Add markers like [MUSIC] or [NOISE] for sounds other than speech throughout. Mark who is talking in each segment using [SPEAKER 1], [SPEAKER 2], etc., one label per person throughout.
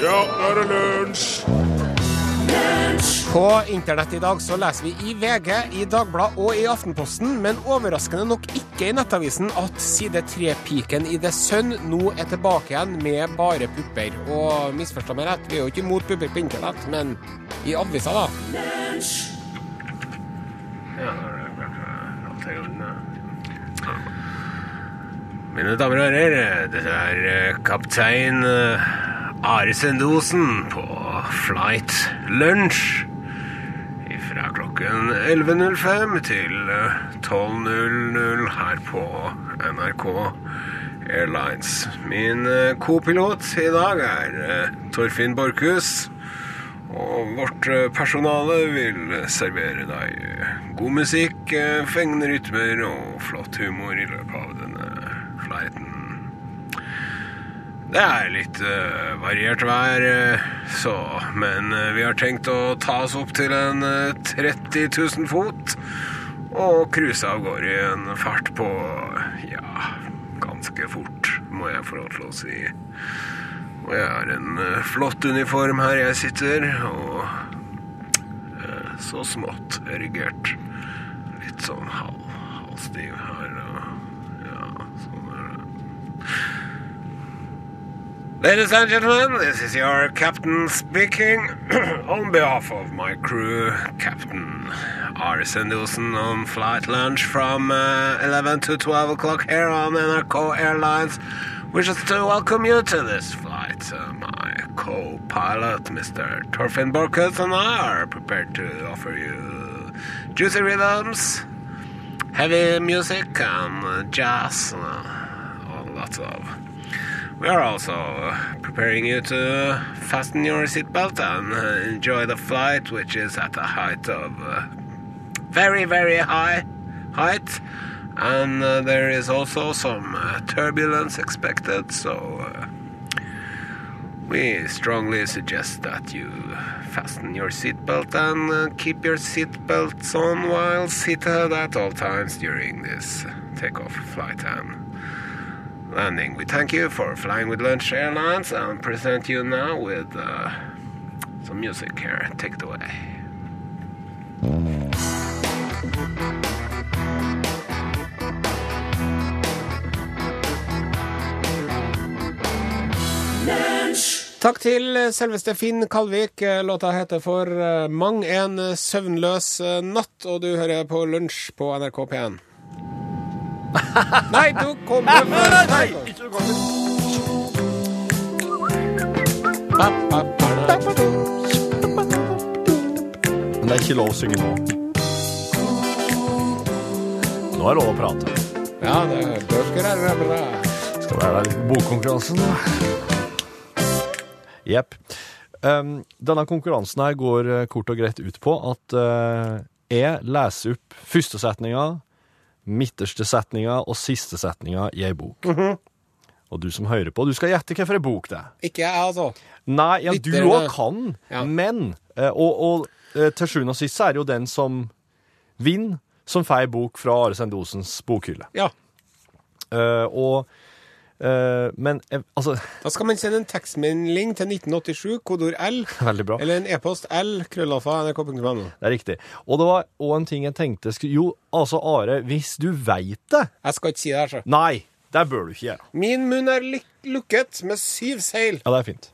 [SPEAKER 1] Ja, nå er det lunsj!
[SPEAKER 2] På internett i dag så leser vi i VG, i Dagbladet og i Aftenposten, men overraskende nok ikke i Nettavisen, at side 3-piken i The Sun nå er tilbake igjen med bare pupper. Og misforstå meg rett, vi er jo ikke imot pupper på internett, men i avisa, da.
[SPEAKER 1] Mine damer og herrer, dette er eh, kaptein eh, Are Sendosen på Flight Lunch. Fra klokken 11.05 til eh, 12.00 her på NRK Airlines. Min eh, co-pilot i dag er eh, Torfinn Borchhus. Og vårt eh, personale vil servere deg eh, god musikk, eh, fengende rytmer og flott humor i løpet av denne flighten. Det er litt eh, variert vær, eh, så Men eh, vi har tenkt å ta oss opp til en eh, 30 000 fot og cruise av gårde i en fart på ja, ganske fort, må jeg få lov til å si. Og jeg har en eh, flott uniform her jeg sitter, og eh, så smått erigert. Litt sånn halv, halvstiv her, og ja, sånn er det. Ladies and gentlemen, this is your captain speaking [CLEARS THROAT] on behalf of my crew, Captain Ari Sendelsen on flight lunch from uh, 11 to 12 o'clock here on NRK Airlines. Wishes to welcome you to this flight. Uh, my co-pilot, Mr. Torfinn Borkus, and I are prepared to offer you juicy rhythms, heavy music, and uh, jazz, uh, all lots of we are also uh, preparing you to uh, fasten your seatbelt and uh, enjoy the flight, which is at a height of uh, very, very high height. And uh, there is also some uh, turbulence expected, so uh, we strongly suggest that you fasten your seatbelt and uh, keep your seatbelts on while seated at all times during this takeoff flight and landing. We thank you for flying with Lunch Airlines and present you now with uh, some music here. Take it away.
[SPEAKER 2] Takk til eh, selveste Finn Kalvik. Låta heter For eh, mang en søvnløs eh, natt, og du hører på Lunsj på NRK P1. Nei, du kommer
[SPEAKER 3] Men det er ikke lov å synge nå. Nå er det lov å prate.
[SPEAKER 2] Ja, det er bøker er bra.
[SPEAKER 3] Skal være der i bokkonkurransen, da. Jepp. Um, denne konkurransen her går eh, kort og greit ut på at eh, jeg leser opp første setninga, midterste setninga og siste setninga i ei bok. Og du som hører på, du skal gjette hvilken bok det er.
[SPEAKER 2] Ikke jeg, altså.
[SPEAKER 3] Nei, ja, du
[SPEAKER 2] Lytterne.
[SPEAKER 3] òg kan,
[SPEAKER 2] Ja.
[SPEAKER 3] men eh, Og, og eh, til sjuende og sist så er det jo den som vinner, som får ei bok fra Are Sendosens bokhylle.
[SPEAKER 2] Ja.
[SPEAKER 3] Eh, og eh, Men eh, altså [LAUGHS]
[SPEAKER 2] Da skal man sende en tekstmelding til 1987, kodord L,
[SPEAKER 3] Veldig bra.
[SPEAKER 2] eller en e-post L, krøllalfa, nrk.no.
[SPEAKER 3] Det er riktig. Og det var òg en ting jeg tenkte skulle Jo, altså, Are, hvis du veit det
[SPEAKER 2] Jeg skal ikke si det her, så.
[SPEAKER 3] Nei, det bør du ikke gjøre.
[SPEAKER 2] Min munn er lik- lukket med syv seil.
[SPEAKER 3] Ja, det er fint.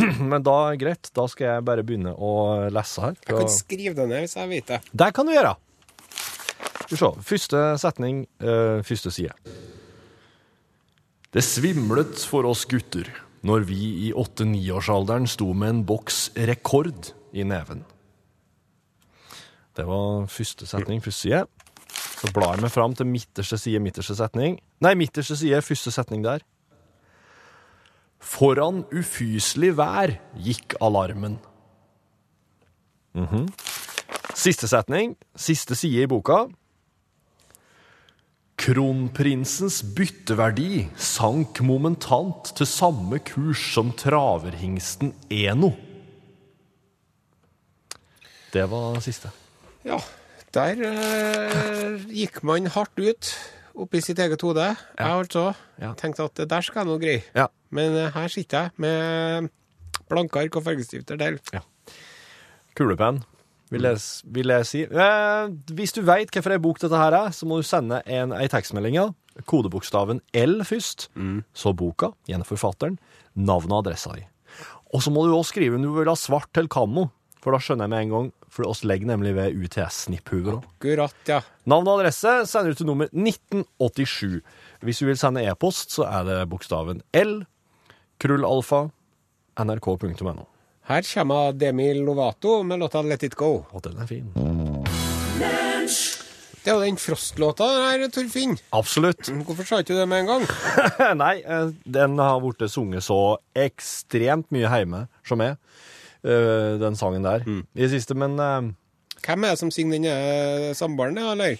[SPEAKER 3] [CLEARS THROAT] Men da, greit, da skal jeg bare begynne å lese her.
[SPEAKER 2] Jeg kan
[SPEAKER 3] fra-
[SPEAKER 2] skrive det ned hvis jeg vet det.
[SPEAKER 3] Det kan du gjøre. Skal vi se. Første setning, eh, første side. Det svimlet for oss gutter når vi i åtte-niårsalderen sto med en boks rekord i neven. Det var første setning, første side. Så blar vi fram til midterste side, midterste setning. Nei, midterste side, første setning der. Foran ufyselig vær gikk alarmen. Siste setning, siste side i boka. Kronprinsens bytteverdi sank momentant til samme kurs som traverhingsten Eno. Det var siste.
[SPEAKER 2] Ja, der eh, gikk man hardt ut oppi sitt eget hode. Jeg altså
[SPEAKER 3] Ja.
[SPEAKER 2] tenkte at det der skal jeg nå greie.
[SPEAKER 3] Ja.
[SPEAKER 2] Men eh, her sitter jeg med
[SPEAKER 1] Blanke ark og fargestifter del.
[SPEAKER 3] Kulepenn, vil jeg, s- vil jeg si. Eh, hvis du veit hvilken bok dette her er, så må du sende en, ei tekstmelding. ja. Kodebokstaven L først, så boka, gjerne forfatteren, navnet og adressa di. Og så må du også skrive om du vil ha svart til kammo, for da skjønner jeg med en gang. For oss legger nemlig ved UTS-snipphuver òg.
[SPEAKER 1] Akkurat, ja.
[SPEAKER 3] Navn og adresse sender du til nummer 1987. Hvis du vil sende e-post, så er det bokstaven L, krullalfa, nrk.no.
[SPEAKER 1] Her kommer Demi Lovato med låta 'Let It Go'.
[SPEAKER 3] Og den er fin.
[SPEAKER 1] Det er jo den Frost-låta der, Torfinn.
[SPEAKER 3] Absolutt.
[SPEAKER 1] Hvorfor sa ikke du det med en
[SPEAKER 3] [LAUGHS]
[SPEAKER 1] gang?
[SPEAKER 3] Nei, eh, den har blitt sunget så ekstremt mye hjemme som jeg, eh, den sangen der,
[SPEAKER 1] Mm.
[SPEAKER 3] i det siste. Men eh,
[SPEAKER 1] Hvem er det som synger den eh, sambaren, ja, eller?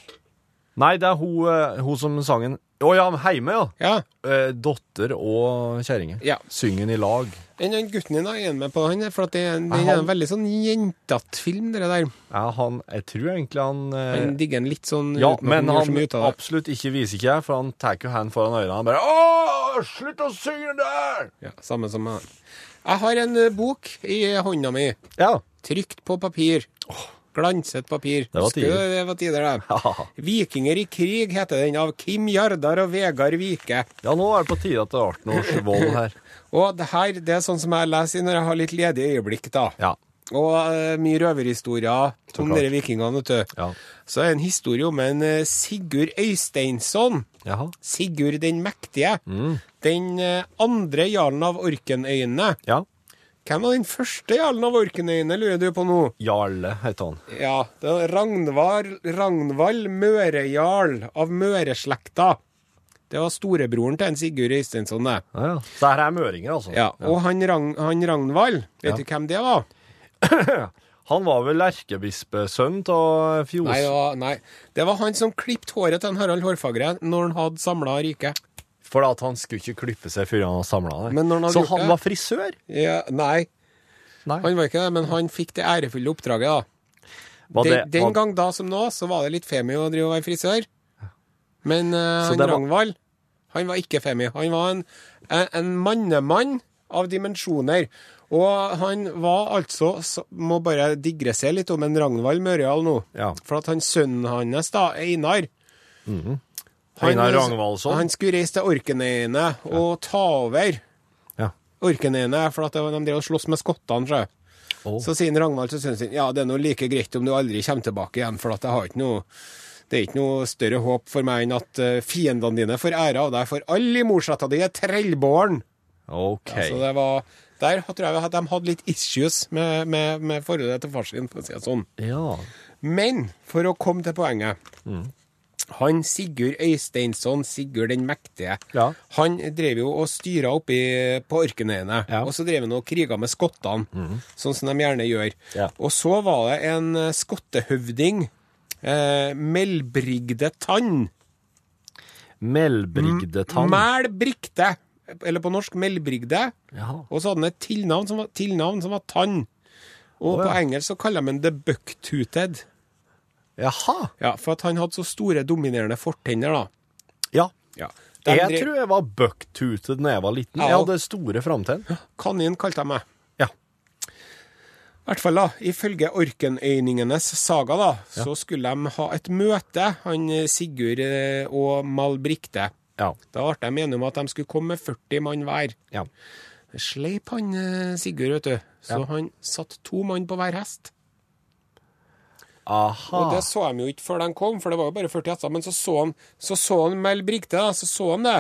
[SPEAKER 3] nei, det er hun, eh, hun som sangen Å ja, heime, ja.
[SPEAKER 1] Ja.
[SPEAKER 3] Eh, Dotter og kjerringe.
[SPEAKER 1] Ja.
[SPEAKER 3] Synger den i lag.
[SPEAKER 1] Den, den gutten din da, er han med på han, for at det, er en-
[SPEAKER 3] Ja,
[SPEAKER 1] den er
[SPEAKER 3] han-
[SPEAKER 1] en veldig sånn jentete film, det der.
[SPEAKER 3] Ja, han, jeg tror egentlig han eh,
[SPEAKER 1] Han digger den litt sånn
[SPEAKER 3] Ja,
[SPEAKER 1] uten at
[SPEAKER 3] men
[SPEAKER 1] gjør så
[SPEAKER 3] han
[SPEAKER 1] mye ut av det.
[SPEAKER 3] absolutt ikke viser ikke, for han tar jo hendene foran øynene. Han bare Åh, slutt å synge den der!
[SPEAKER 1] Ja, samme som meg. Jeg har en eh, bok i hånda mi.
[SPEAKER 3] Ja.
[SPEAKER 1] Trykt på papir. Glanset papir.
[SPEAKER 3] var
[SPEAKER 1] Husker du
[SPEAKER 3] tider.
[SPEAKER 1] Det var tider, det.
[SPEAKER 3] Haha.
[SPEAKER 1] 'Vikinger i krig' heter den, av Kim Jardar og Vegard Vike.
[SPEAKER 3] ja, nå er det på tide at det er 18-årsvold her.
[SPEAKER 1] Og det her, det er sånn som jeg leser når jeg har litt ledige øyeblikk, da.
[SPEAKER 3] Ja.
[SPEAKER 1] Og eh, mye røverhistorier
[SPEAKER 3] Så
[SPEAKER 1] om
[SPEAKER 3] klart.
[SPEAKER 1] dere vikingene, vet du.
[SPEAKER 3] ja.
[SPEAKER 1] Så er det en historie om en eh, Sigurd Øysteinsson.
[SPEAKER 3] Jaha.
[SPEAKER 1] Sigurd den mektige.
[SPEAKER 3] Mm.
[SPEAKER 1] Den eh, andre jarlen av Orkenøyene.
[SPEAKER 3] Ja.
[SPEAKER 1] Hvem var den første jarlen av Orkenøyene, lurer du på nå?
[SPEAKER 3] Jarle heter han.
[SPEAKER 1] Ja, det var Ragnvar, Ragnvald Mørejarl av Møreslekta. Det var storebroren til en Sigurd Øysteinsson, det.
[SPEAKER 3] Ja, ja. Så her er møringer, altså.
[SPEAKER 1] Ja, og han, Ragn, han Ragnvald, vet du hvem det var?
[SPEAKER 3] [LAUGHS] Han var vel erkebispesønn av Fjos...
[SPEAKER 1] Nei, det var, nei. Det var han som klippte håret til en Harald Hårfagre når han hadde samla riket.
[SPEAKER 3] For at han skulle ikke klippe seg før han samla
[SPEAKER 1] Men når han hadde
[SPEAKER 3] Så
[SPEAKER 1] gjort
[SPEAKER 3] han
[SPEAKER 1] det-
[SPEAKER 3] var frisør?
[SPEAKER 1] Ja, nei,
[SPEAKER 3] Nei.
[SPEAKER 1] han var ikke det, men han fikk det ærefulle oppdraget, da.
[SPEAKER 3] Var
[SPEAKER 1] Den,
[SPEAKER 3] det-
[SPEAKER 1] den
[SPEAKER 3] var-
[SPEAKER 1] gang da som nå, så var det litt femi å drive og være frisør. Men eh,
[SPEAKER 3] Så
[SPEAKER 1] han
[SPEAKER 3] det var-
[SPEAKER 1] Ragnvald, han var ikke femi. Han var en, en, en mannemann av dimensjoner. Og han var altså så, Må bare digressere litt om en Ragnvald Mørjal nå.
[SPEAKER 3] Ja.
[SPEAKER 1] For at han sønnen hans, da, Einar han-
[SPEAKER 3] Mhm. Einar Ragnvaldsson.
[SPEAKER 1] Han skulle reise til Orkenøyene og ta over
[SPEAKER 3] Ja.
[SPEAKER 1] Orkenøyene, for at det var- de drev og sloss med skottene. tror jeg.
[SPEAKER 3] Å.
[SPEAKER 1] Så sier Ragnvald til sønnen sin ja, det er nå like greit om du aldri kommer tilbake igjen, for at jeg har ikke noe det er ikke noe større håp for meg enn at eh, fiendene dine får ære av deg, for alle i morsretta di er trellbåren.
[SPEAKER 3] Oh, OK.
[SPEAKER 1] Ja, så det var, der tror jeg at de hadde litt issues med, med, med forholdet til far sin, for å si det sånn.
[SPEAKER 3] Ja.
[SPEAKER 1] Men for å komme til poenget. Han Sigurd Øysteinsson, Sigurd den mektige,
[SPEAKER 3] Ja.
[SPEAKER 1] han drev jo og styra oppe i- på Orkenøyene.
[SPEAKER 3] Ja.
[SPEAKER 1] Og så drev han og kriga med skottene, sånn som de gjerne gjør.
[SPEAKER 3] Ja.
[SPEAKER 1] Og så var det en eh, skottehøvding, eh, Melbrigde Tann.
[SPEAKER 3] Melbrigde tann.
[SPEAKER 1] Melbrigde, eller på norsk Melbrigde.
[SPEAKER 3] Jaha.
[SPEAKER 1] Og så hadde han et tilnavn som var, tilnavn som var Tann. Og
[SPEAKER 3] Å,
[SPEAKER 1] på
[SPEAKER 3] ja.
[SPEAKER 1] engelsk så kaller de han The Bucktooted.
[SPEAKER 3] Jaha.
[SPEAKER 1] Ja, for at han hadde så store dominerende fortenner, da.
[SPEAKER 3] Ja.
[SPEAKER 1] De
[SPEAKER 3] jeg
[SPEAKER 1] drev-
[SPEAKER 3] tror jeg var bucktooted da jeg var liten.
[SPEAKER 1] Ja.
[SPEAKER 3] Jeg hadde store framtenn.
[SPEAKER 1] Kanin kalte jeg meg.
[SPEAKER 3] Ja.
[SPEAKER 1] I hvert fall, da. Ifølge Orkenøyningenes saga, da, så skulle de ha et møte, han eh, Sigurd eh, og Malbrikte.
[SPEAKER 3] Ja.
[SPEAKER 1] Da ble de enige om at de skulle komme med 40 mann hver.
[SPEAKER 3] ja.
[SPEAKER 1] Sleip han eh, Sigurd, vet du. Så han satt to mann på hver hest.
[SPEAKER 3] Aha.
[SPEAKER 1] Og det så de jo ikke før de kom, for det var jo bare 40 hester. Men så så han, så så han Mel Brigte, da, så så han det.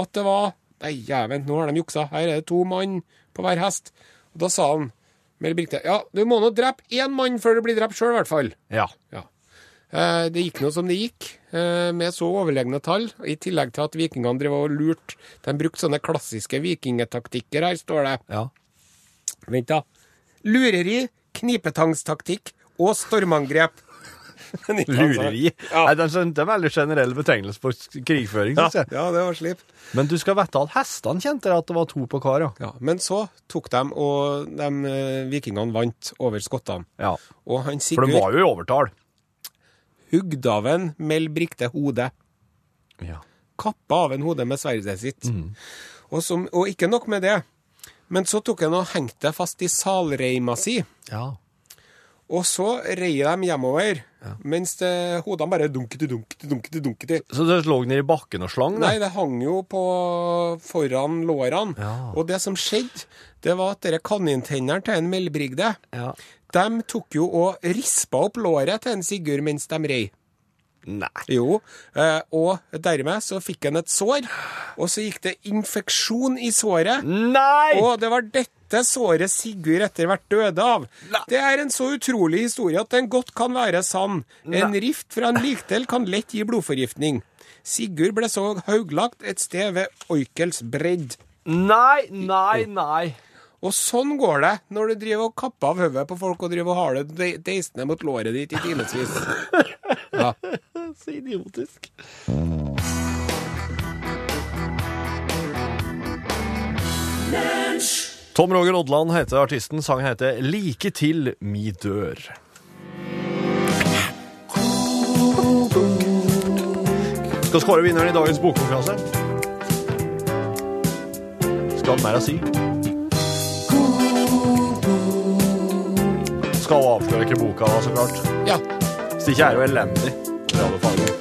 [SPEAKER 1] At det var Nei, jæven, nå har de juksa. Her er det to mann på hver hest. Og da sa han Mel Brigte ja, du må nå drepe én mann før du blir drept sjøl, i hvert fall.
[SPEAKER 3] Ja.
[SPEAKER 1] Ja. Eh, Det gikk nå som det gikk, eh, med så overlegne tall. I tillegg til at vikingene drev og lurte. De brukte sånne klassiske vikingetaktikker her, står det.
[SPEAKER 3] ja.
[SPEAKER 1] Vent, da. Lureri, knipetangstaktikk og stormangrep. [LAUGHS] Men ikke sant, så-
[SPEAKER 3] Lureri.
[SPEAKER 1] Ja.
[SPEAKER 3] Nei, det altså? er en- det er en veldig generell betegnelse på s- krigføring, synes jeg.
[SPEAKER 1] ja, det var slipp.
[SPEAKER 3] Men du skal vite at hestene kjente at det var to på hver, ja.
[SPEAKER 1] Ja, men så tok de, og de eh, vikingene vant over skottene.
[SPEAKER 3] ja.
[SPEAKER 1] Og han
[SPEAKER 3] For
[SPEAKER 1] Sigurd
[SPEAKER 3] de var jo i overtall.
[SPEAKER 1] Hugdaven melbrikte hodet.
[SPEAKER 3] Ja. Mm.
[SPEAKER 1] Kappa av en hode med sverdet sitt. Og, som, og ikke nok med det. Men så tok han og hengte det fast i salreima si,
[SPEAKER 3] Ja.
[SPEAKER 1] og så rei de hjemover, mens det, hodene bare dunkete, dunkete, dunkete, dunkete.
[SPEAKER 3] Så det lå nede i bakken og slang?
[SPEAKER 1] Nei, det hang jo på foran lårene.
[SPEAKER 3] Ja.
[SPEAKER 1] Og det som skjedde, det var at dere kanintennene til en melbrigde,
[SPEAKER 3] Ja.
[SPEAKER 1] de tok jo og rispa opp låret til en Sigurd mens de rei.
[SPEAKER 3] Nei.
[SPEAKER 1] Jo, eh, og dermed så fikk han et sår, og så gikk det infeksjon i såret.
[SPEAKER 3] Nei!
[SPEAKER 1] Og det var dette såret Sigurd etter hvert døde av.
[SPEAKER 3] Nei.
[SPEAKER 1] Det er en så utrolig historie at den godt kan være sann. En rift fra en likdel kan lett gi blodforgiftning. Sigurd ble så hauglagt et sted ved Oikels bredd.
[SPEAKER 3] Nei, nei, nei.
[SPEAKER 1] Og sånn går det når du driver og kapper av hodet på folk og driver og har det de- deisende mot låret ditt i timevis. Ja.
[SPEAKER 3] Så idiotisk. Tom Roger Odland heter artisten. Sangen heter Like til mi dør. Skal skåre vinneren i dagens bokkonkurranse. Skal mer å si. Skal avsløre ikke boka, da, så klart.
[SPEAKER 1] ja.
[SPEAKER 3] Hvis det ikke er jo elendig. Radiofaget.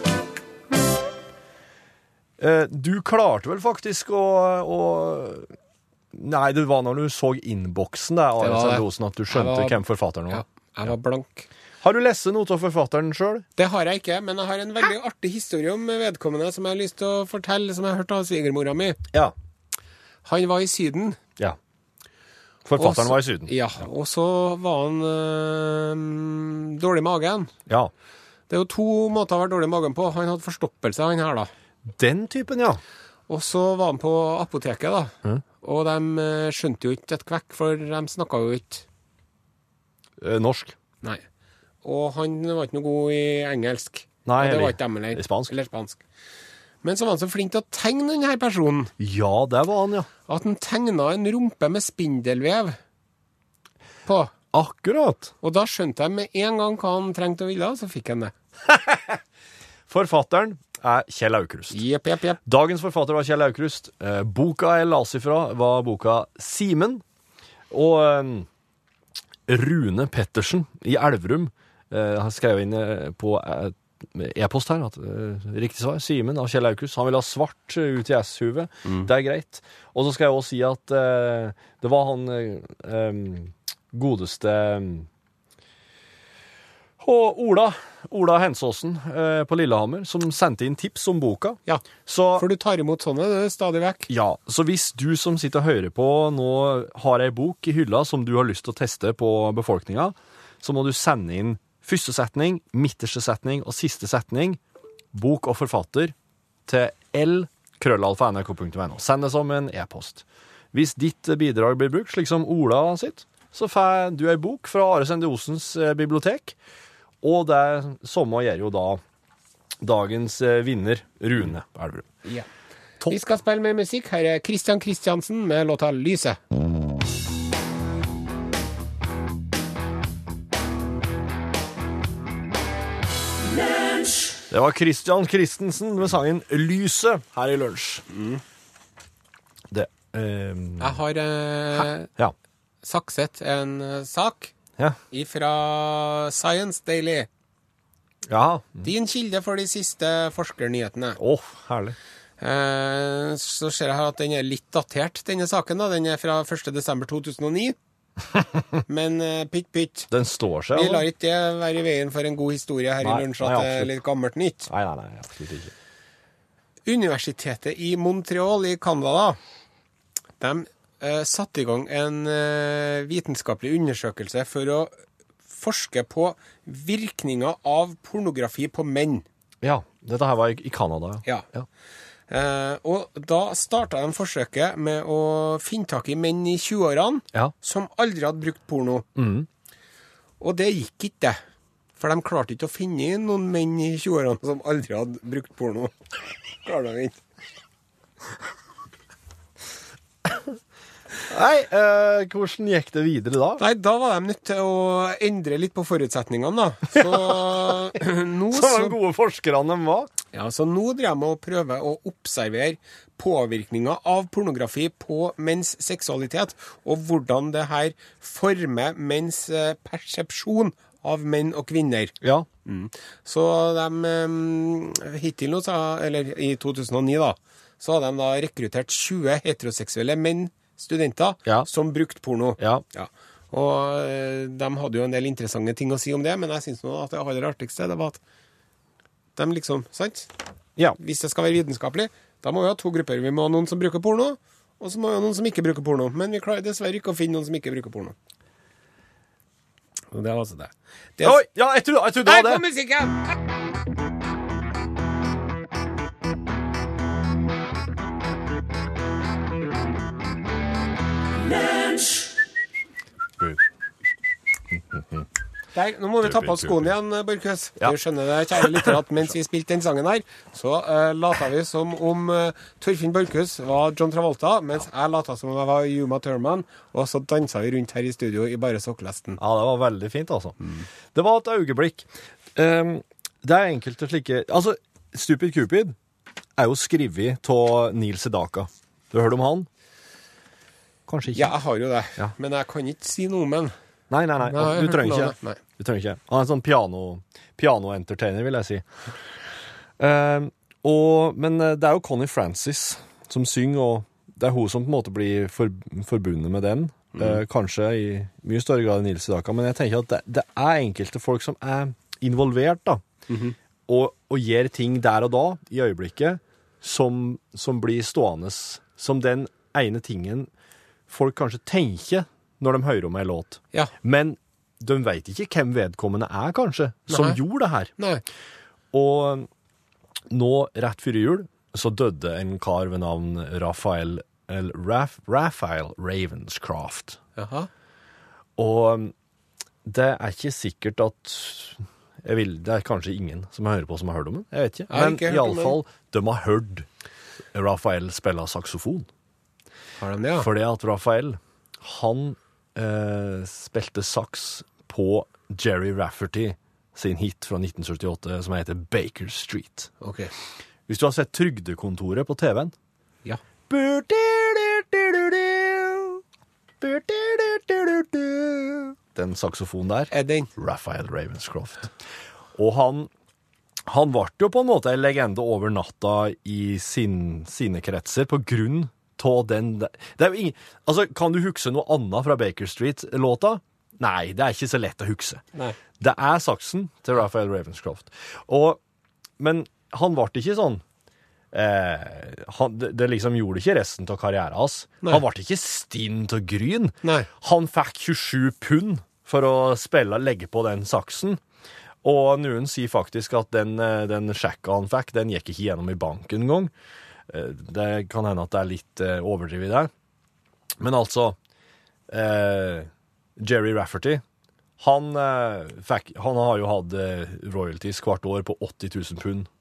[SPEAKER 3] Eh, Du klarte vel faktisk å, å Nei, det var når du så innboksen der,
[SPEAKER 1] Det var
[SPEAKER 3] Arild
[SPEAKER 1] det.
[SPEAKER 3] Sendosen, at du skjønte
[SPEAKER 1] Jeg var-
[SPEAKER 3] hvem forfatteren
[SPEAKER 1] ja.
[SPEAKER 3] var.
[SPEAKER 1] Jeg var blank.
[SPEAKER 3] Har du lest noe av forfatteren sjøl?
[SPEAKER 1] Det har jeg ikke, men jeg har en veldig artig historie om vedkommende som jeg har lyst til å fortelle, som jeg har hørt av svigermora mi.
[SPEAKER 3] Ja.
[SPEAKER 1] Han var i Syden.
[SPEAKER 3] ja.
[SPEAKER 1] og
[SPEAKER 3] Forfatteren
[SPEAKER 1] så-
[SPEAKER 3] var i Syden.
[SPEAKER 1] Ja, og så var han øh, dårlig i magen.
[SPEAKER 3] Ja.
[SPEAKER 1] Det er jo to måter å være dårlig i magen på. Han hadde forstoppelse, han her, da.
[SPEAKER 3] Den typen, ja.
[SPEAKER 1] Og så var han på apoteket, da. Og de øh, skjønte jo ikke et kvekk, for de snakka jo ikke.
[SPEAKER 3] Eh, Norsk.
[SPEAKER 1] Nei. Og han var ikke noe god i engelsk.
[SPEAKER 3] Nei,
[SPEAKER 1] og det
[SPEAKER 3] eller-
[SPEAKER 1] var ikke dem heller.
[SPEAKER 3] i spansk.
[SPEAKER 1] Eller spansk. Men så var han så flink til å tegne denne personen
[SPEAKER 3] Ja, der var han, ja.
[SPEAKER 1] at han tegna en rumpe med spindelvev på.
[SPEAKER 3] Akkurat.
[SPEAKER 1] Og da skjønte jeg med en gang hva han trengte og ville, så fikk han det.
[SPEAKER 3] Forfatteren er Kjell Aukrust.
[SPEAKER 1] Jepp, jepp, jepp.
[SPEAKER 3] Dagens forfatter var Kjell Aukrust. Eh, Boka jeg las ifra, var boka Simen. Og eh, Rune Pettersen i Elverum eh, har skrevet inn eh, på eh, e-post her at eh, riktig svar Simen av Kjell Aukrust. Han vil ha svart eh, ut i S-huvet. Det er greit. Og så skal jeg også si at eh, det var han eh, em, godeste em, og Ola, Ola Hensåsen eh, på Lillehammer, som sendte inn tips om boka.
[SPEAKER 1] Ja.
[SPEAKER 3] Så
[SPEAKER 1] For du tar imot sånne du, stadig vekk.
[SPEAKER 3] ja, så hvis du som sitter og hører på nå har ei bok i hylla som du har lyst til å teste på befolkninga, så må du sende inn første setning, midterste setning og siste setning, bok og forfatter, til l.krøllalfa.nrk.no. Send det som en e-post. Hvis ditt bidrag blir brukt, slik som Ola sitt, så får du ei bok fra Are Sende Osens eh, bibliotek, og det samme gjør jo da dagens eh, vinner, Rune Elverum. Topp.
[SPEAKER 1] Vi skal spille mer musikk. Her er Christian Christiansen med låta 'Lyset'.
[SPEAKER 3] Det var Christian Christensen med sangen 'Lyset' her i lunsj. Det ehm,
[SPEAKER 1] Jeg har eh,
[SPEAKER 3] Ja.
[SPEAKER 1] sakset en eh, sak
[SPEAKER 3] Ja.
[SPEAKER 1] fra Science Daily.
[SPEAKER 3] ja.
[SPEAKER 1] Din kilde for de siste forskernyhetene.
[SPEAKER 3] Å, herlig.
[SPEAKER 1] Eh, så ser jeg her at den er litt datert, denne saken. da. Den er fra [LAUGHS] 1.12.2009. Men eh, pytt, pytt.
[SPEAKER 3] Den står seg.
[SPEAKER 1] Vi
[SPEAKER 3] altså.
[SPEAKER 1] lar ikke det være i veien for en god historie her
[SPEAKER 3] Nei,
[SPEAKER 1] i lunsj
[SPEAKER 3] nei,
[SPEAKER 1] at det er
[SPEAKER 3] absolutt.
[SPEAKER 1] litt gammelt nytt.
[SPEAKER 3] Nei, nei, nei, absolutt ikke.
[SPEAKER 1] Universitetet i Montreal i Canada de eh, satte i gang en eh, vitenskapelig undersøkelse for å forske på virkninger av pornografi på menn.
[SPEAKER 3] Ja, dette her var i i Canada, ja.
[SPEAKER 1] Ja. Eh, og da starta de forsøket med å finne tak i menn i 20-årene
[SPEAKER 3] Ja.
[SPEAKER 1] som aldri hadde brukt porno. Og det gikk ikke, for de klarte ikke å finne noen menn i 20-årene som aldri hadde brukt porno. [LAUGHS] Klarer de ikke.
[SPEAKER 3] Nei, eh, hvordan gikk det videre da?
[SPEAKER 1] Nei, da var de nødt til å endre litt på forutsetningene, da. Så nå
[SPEAKER 3] Som
[SPEAKER 1] så
[SPEAKER 3] de gode forskerne de var.
[SPEAKER 1] Ja, så nå driver jeg med å prøve å observere påvirkninga av pornografi på menns seksualitet, og hvordan det her former menns eh, persepsjon av menn og kvinner. Mm.
[SPEAKER 3] Ja.
[SPEAKER 1] Så de eh, hittil nå, sa- eller i 2009 da, så hadde de da rekruttert 20 heteroseksuelle menn, studenter,
[SPEAKER 3] Ja.
[SPEAKER 1] som brukte porno.
[SPEAKER 3] Ja.
[SPEAKER 1] Og eh, de hadde jo en del interessante ting å si om det, men jeg syns nå at det aller artigste det var at de liksom Sant?
[SPEAKER 3] Ja.
[SPEAKER 1] Hvis det skal være vitenskapelig, da må vi ha to grupper. Vi må ha noen som bruker porno, og så må vi ha noen som ikke bruker porno. Men vi klarer dessverre ikke å finne noen som ikke bruker porno. Og det var altså det. det
[SPEAKER 3] Oi, ja, jeg trodde, jeg trodde det
[SPEAKER 1] Der
[SPEAKER 3] var
[SPEAKER 1] kom
[SPEAKER 3] det.
[SPEAKER 1] musikken! Der, nå må vi ta på oss skoene igjen, Borkhus.
[SPEAKER 3] Ja.
[SPEAKER 1] Du skjønner det, kjære lytter, at mens vi spilte den sangen her, så uh, lata vi som om eh, Torfinn Borkhus var John Travolta, mens jeg lata som om jeg var Yuma Thurman, og så dansa vi rundt her i studio i bare sokkelesten.
[SPEAKER 3] Ja, det var veldig fint, altså. Det var et øyeblikk. Ehm, det er enkelte slike Altså, Stupid Cupid er jo skrevet av Neil Sedaka. Du har hørt om han? Kanskje ikke.
[SPEAKER 1] Ja, jeg har jo det,
[SPEAKER 3] Ja.
[SPEAKER 1] men jeg kan ikke si noe om den.
[SPEAKER 3] Nei, nei, nei.
[SPEAKER 1] Nei, jeg
[SPEAKER 3] Du
[SPEAKER 1] hørte
[SPEAKER 3] trenger
[SPEAKER 1] noe av
[SPEAKER 3] ikke.
[SPEAKER 1] det. Nei.
[SPEAKER 3] Du trenger ikke. Han er en sånn piano, piano-entertainer, vil jeg si. Ehm, og, men eh, det er jo Connie Francis som synger, og det er hun som på en måte blir for, forbundet med den. Eh, kanskje i mye større grad enn Nils Daka, men jeg tenker at det, det er enkelte folk som er involvert, da. og, og gjør ting der og da, i øyeblikket, som, som blir stående som den ene tingen folk kanskje tenker når de hører om ei låt.
[SPEAKER 1] Ja.
[SPEAKER 3] Men de veit ikke hvem vedkommende er, kanskje, som
[SPEAKER 1] Nei.
[SPEAKER 3] gjorde det her.
[SPEAKER 1] Nei.
[SPEAKER 3] Og nå, rett før jul, så døde en kar ved navn Raphael, eller Raf, Raphael Ravenscraft.
[SPEAKER 1] Jaha.
[SPEAKER 3] Og um, det er ikke sikkert at jeg vil, Det er kanskje ingen som hører på som har hørt om den. Jeg vet ikke.
[SPEAKER 1] Jeg har
[SPEAKER 3] Men
[SPEAKER 1] ikke hørt om den.
[SPEAKER 3] iallfall, de har hørt Raphael spille saksofon.
[SPEAKER 1] Har de det, ja?
[SPEAKER 3] Fordi at Raphael, han eh, spilte saks på Jerry Rafferty sin hit fra 1978 som heter Baker Street.
[SPEAKER 1] Ok.
[SPEAKER 3] Hvis du har sett Trygdekontoret på TV-en
[SPEAKER 1] Ja.
[SPEAKER 3] Den saksofonen der
[SPEAKER 1] Er den?
[SPEAKER 3] Raphael Ravenscroft. Og han, han ble jo på en måte en legende over natta i sin, sine kretser på grunn av den det er jo ingen, altså, Kan du huske noe annet fra Baker Street-låta? Nei, det er ikke så lett å huske.
[SPEAKER 1] Nei.
[SPEAKER 3] Det er saksen til Raphael Ravenscroft. Og, men han ble ikke sånn eh, han, det, det liksom gjorde ikke resten av karrieren hans.
[SPEAKER 1] Nei.
[SPEAKER 3] Han ble ikke stinn til gryn.
[SPEAKER 1] Nei.
[SPEAKER 3] Han fikk 27 pund for å spille legge på den saksen. Og noen sier faktisk at den, eh, den sjekka han fikk, den gikk ikke gjennom i banken engang. Eh, Det kan hende at det er litt eh, overdrevet der. Men altså eh, Jerry Rafferty han, eh, fikk, han har jo hatt eh, royalties hvert år på 80 000 pund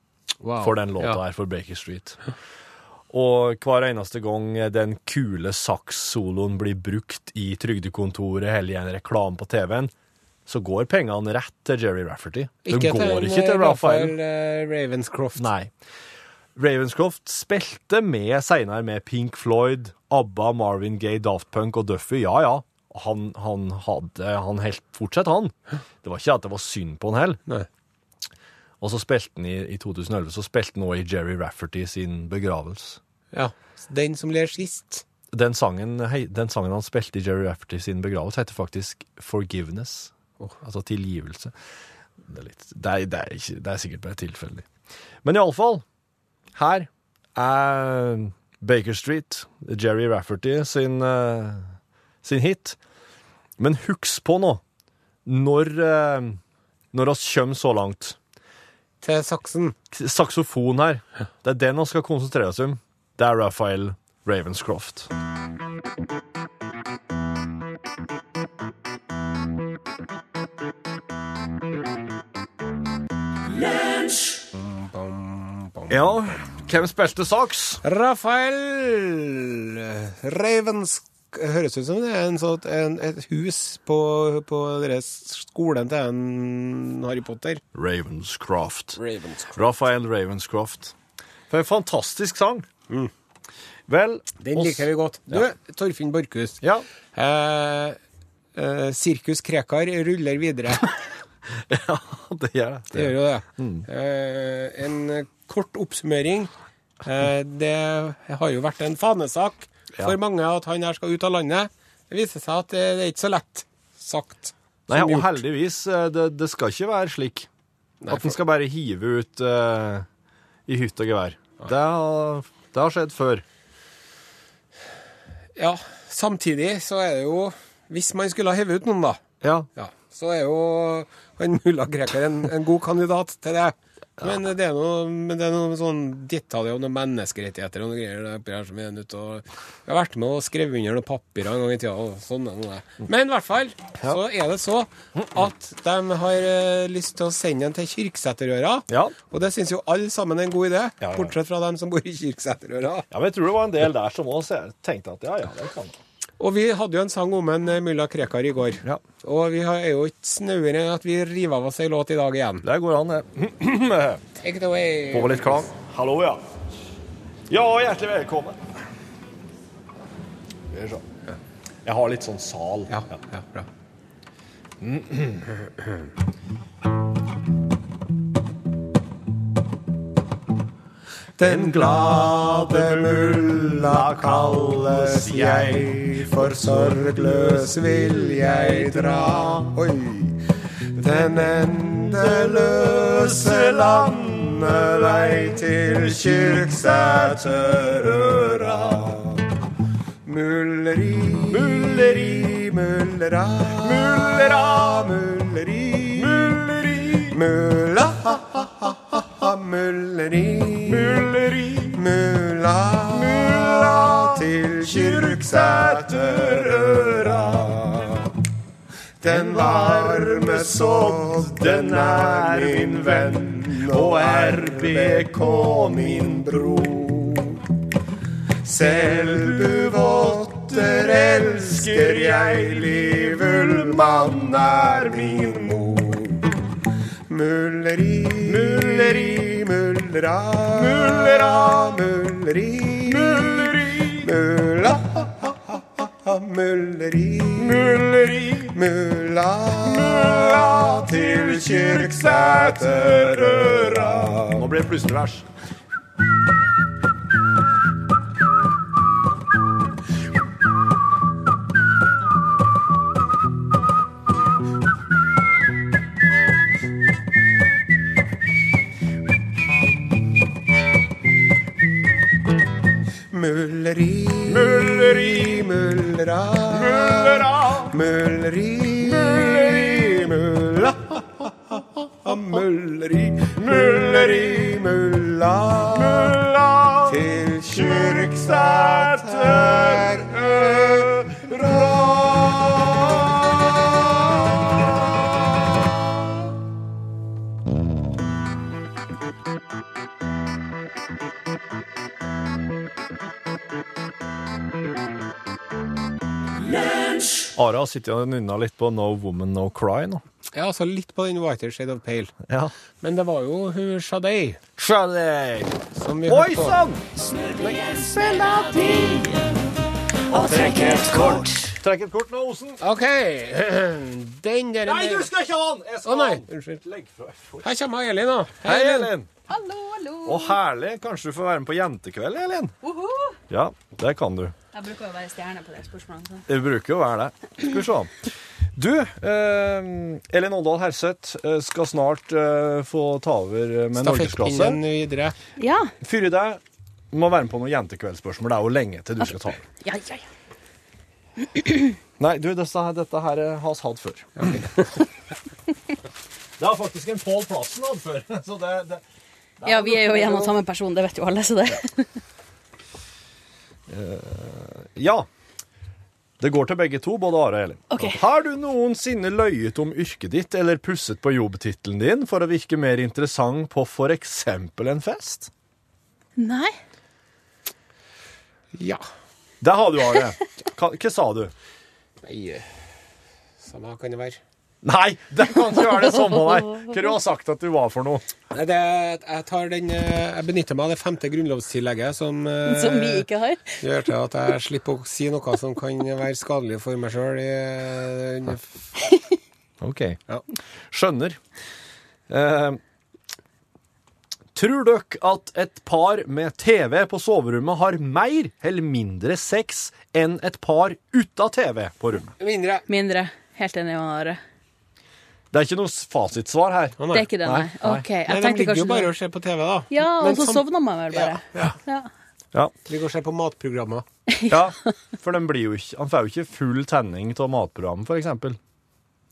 [SPEAKER 1] Wow.
[SPEAKER 3] for den låta
[SPEAKER 1] Ja.
[SPEAKER 3] her, for Baker Street. [LAUGHS] Og hver eneste gang eh, den kule saks-soloen blir brukt i Trygdekontoret eller i en reklame på TV-en, så går pengene rett til Jerry Rafferty. De
[SPEAKER 1] Ikke
[SPEAKER 3] går
[SPEAKER 1] til,
[SPEAKER 3] ikke til Raphael.
[SPEAKER 1] Raphael eh, Ravenscroft.
[SPEAKER 3] Nei. Ravenscroft spilte med senere med Pink Floyd, ABBA, Marvin Gaye, Daft Punk og Duffy. Ja, ja. Han, han hadde Han helt fortsatt, han. Det var ikke at det var synd på han heller.
[SPEAKER 1] Nei.
[SPEAKER 3] Og så spilte han i, i 2011 så spilte han også i Jerry Rafferty sin begravelse.
[SPEAKER 1] Ja. Den som ler sist.
[SPEAKER 3] Den sangen, hei, den sangen han spilte i Jerry Rafferty sin begravelse, heter faktisk Forgiveness. Altså tilgivelse. Det er, litt, det, er, det, er ikke, det er sikkert bare tilfeldig. Men iallfall, her er Baker Street, Jerry Rafferty sin, eh, sin hit. Men husk på nå, når, uh, når oss kommer så langt
[SPEAKER 1] Til saksen.
[SPEAKER 3] saksofon her. Det er den vi skal konsentrere oss om. Det er Raphael Ravenscroft. Ja, hvem spilte saks?
[SPEAKER 1] Raphael Ravenscroft. høres ut som det er en sånn, en, et hus på, på deres skolen til en Harry Potter.
[SPEAKER 3] Ravenscroft. Raphael Ravenscroft. For en fantastisk sang. Vel
[SPEAKER 1] Den
[SPEAKER 3] oss-
[SPEAKER 1] liker vi godt. Du, Torfinn Borchhus.
[SPEAKER 3] Ja. [LAUGHS]
[SPEAKER 1] Eh, eh, Sirkus Krekar ruller videre.
[SPEAKER 3] ja, det gjør det.
[SPEAKER 1] Det gjør jo det. Eh, en kort oppsummering. Eh, det har jo vært en fanesak
[SPEAKER 3] Ja.
[SPEAKER 1] for mange at han her skal ut av landet. Det viser seg at eh, det, det er ikke så lett sagt.
[SPEAKER 3] Nei,
[SPEAKER 1] som
[SPEAKER 3] og
[SPEAKER 1] gjort.
[SPEAKER 3] heldigvis, eh, det, det skal ikke være slik. at en skal bare hive ut eh, i hytt og gevær. Det, har- det har skjedd før.
[SPEAKER 1] Ja, samtidig så er det jo Hvis man skulle ha hevet ut noen, da,
[SPEAKER 3] Ja.
[SPEAKER 1] ja, så er jo han mulla Krekar en, en god kandidat til det. Men det er noe, men det er noe sånn detaljer om noen menneskerettigheter og noe greier der oppi her som er nødt til å Jeg har vært med og skrevet under noen papirer en gang i tida og sånn. er noe det. Men i hvert fall så er det så at de har eh, lyst til å sende den til Kyrksæterøra.
[SPEAKER 3] Ja.
[SPEAKER 1] Og det syns jo alle sammen er en god idé,
[SPEAKER 3] Ja, ja.
[SPEAKER 1] bortsett fra dem som bor i Kyrksæterøra.
[SPEAKER 3] ja, men jeg tror det var en del der som òg tenkte at ja, ja, det kan
[SPEAKER 1] Og vi hadde jo en sang om en eh, mulla Krekar i går.
[SPEAKER 3] Ja.
[SPEAKER 1] Og vi har- er jo ikke snauere enn at vi river av oss ei låt i dag igjen.
[SPEAKER 3] Det går an, det. [CLEARS THROAT]
[SPEAKER 1] Take it away.
[SPEAKER 3] Få litt klang. Hallo, ja. Ja, hjertelig velkommen. Skal vi se. Jeg har litt sånn sal.
[SPEAKER 1] Ja, ja, bra.
[SPEAKER 3] Den glade mulla kalles
[SPEAKER 1] jeg, for sorgløs vil jeg dra. Oi. Den endeløse landevei til Kyrksæterøra. Mulleri, mulleri, mullera. Mullera, mulleri, mulleri. Mulla, ha, ha, ha, ha, ha, mulleri. Mulleri, mulla, mulla til Kyrksæterøra. Den varme sodd, den er min venn, og RBK min bror. Selbuvotter elsker jeg, Livulmann er min mor. Mulleri, mulleri, mullera, mullera, mulleri, mulleri, mulla, ha, ha, ha, ha, ha, mulleri, mulleri, mulla, mulla til Kyrksæterøra.
[SPEAKER 3] Nå ble det plutselig vers.
[SPEAKER 1] Mulleri, mulleri, mullera, mullera, mulleri, mulleri, mulla, mulleri, mulleri, mulla, mulla, til Kyrksæter
[SPEAKER 3] Ara har sittet og nynna litt på No Woman No Cry nå.
[SPEAKER 1] Ja, altså litt på den Whiter Shade of Pale.
[SPEAKER 3] Ja.
[SPEAKER 1] Men det var jo hun Shadei
[SPEAKER 3] Skjønner
[SPEAKER 1] som vi
[SPEAKER 3] Oi sånn! sann! Trekk et kort nå, Osen.
[SPEAKER 1] OK. [CLEARS THROAT] Den der
[SPEAKER 3] Nei, du skal ikke ha den! Jeg
[SPEAKER 1] Å
[SPEAKER 3] skal
[SPEAKER 1] nei,
[SPEAKER 3] ha den.
[SPEAKER 1] unnskyld.
[SPEAKER 3] Legg fra deg.
[SPEAKER 1] Her kommer Elin, da.
[SPEAKER 3] Hei, Elin.
[SPEAKER 4] Hallo, hallo.
[SPEAKER 3] Å, herlig. Kanskje du får være med på Jentekveld, Elin?
[SPEAKER 4] Uhu.
[SPEAKER 3] Ja, det kan du.
[SPEAKER 4] Jeg bruker jo å være stjerne på de spørsmålene.
[SPEAKER 3] Det bruker jo å være det. Skal vi se. Du, eh, Elin Åndal Herseth eh, skal snart eh, få ta over eh, med norgesklasse.
[SPEAKER 1] Stafettpinnen videre.
[SPEAKER 4] Så. Ja.
[SPEAKER 3] Fyre deg må være med på noen jentekveldsspørsmål. Det er jo lenge til du skal ta over.
[SPEAKER 4] Ja, ja, ja.
[SPEAKER 3] Nei, du, dette, dette her eh, har vi hatt før. [LAUGHS] det har faktisk en Pål Plassen hatt før. [LAUGHS] Så det, det.
[SPEAKER 4] ja, vi er jo en og samme person, det vet jo alle, så [LAUGHS] det
[SPEAKER 3] Ja. Det går til begge to, både Are og Elin.
[SPEAKER 4] Ok.
[SPEAKER 3] Har du noensinne løyet om yrket ditt eller pusset på jobbtittelen din for å virke mer interessant på f.eks. en fest?
[SPEAKER 4] Nei.
[SPEAKER 1] Ja.
[SPEAKER 3] Der har du Are. Hva, hva sa du?
[SPEAKER 1] Nei, samme kan det være.
[SPEAKER 3] Nei, det kan ikke være det samme, nei! Hva du har sagt at du var for noe?
[SPEAKER 1] Nei, det, jeg, tar den, eh, jeg benytter meg av det femte grunnlovstillegget som, eh,
[SPEAKER 4] Som vi ikke har.
[SPEAKER 1] gjør til at jeg slipper å si noe som kan være skadelig for meg eh, sjøl.
[SPEAKER 3] OK.
[SPEAKER 1] Ja.
[SPEAKER 3] Skjønner. Eh, tror dere at et par med TV på soverommet har mer eller mindre sex enn et par uten TV på rommet?
[SPEAKER 1] Mindre.
[SPEAKER 4] Mindre. Helt enig med Are.
[SPEAKER 3] Det er ikke noe fasitsvar her.
[SPEAKER 1] Å,
[SPEAKER 4] Det er ikke det, nei.
[SPEAKER 3] Nei, nei.
[SPEAKER 4] OK. Jeg
[SPEAKER 1] Nei, de
[SPEAKER 4] tenkte
[SPEAKER 1] ligger jo
[SPEAKER 4] kanskje
[SPEAKER 1] bare
[SPEAKER 4] du
[SPEAKER 1] og ser på TV, da.
[SPEAKER 4] Ja,
[SPEAKER 1] Men
[SPEAKER 4] og så
[SPEAKER 1] som-
[SPEAKER 4] sovna man vel bare. Ja.
[SPEAKER 3] Ja.
[SPEAKER 1] Ligger og ser på matprogrammer.
[SPEAKER 3] ja, For den blir jo ikke, han får jo ikke full tenning av matprogrammet, f.eks.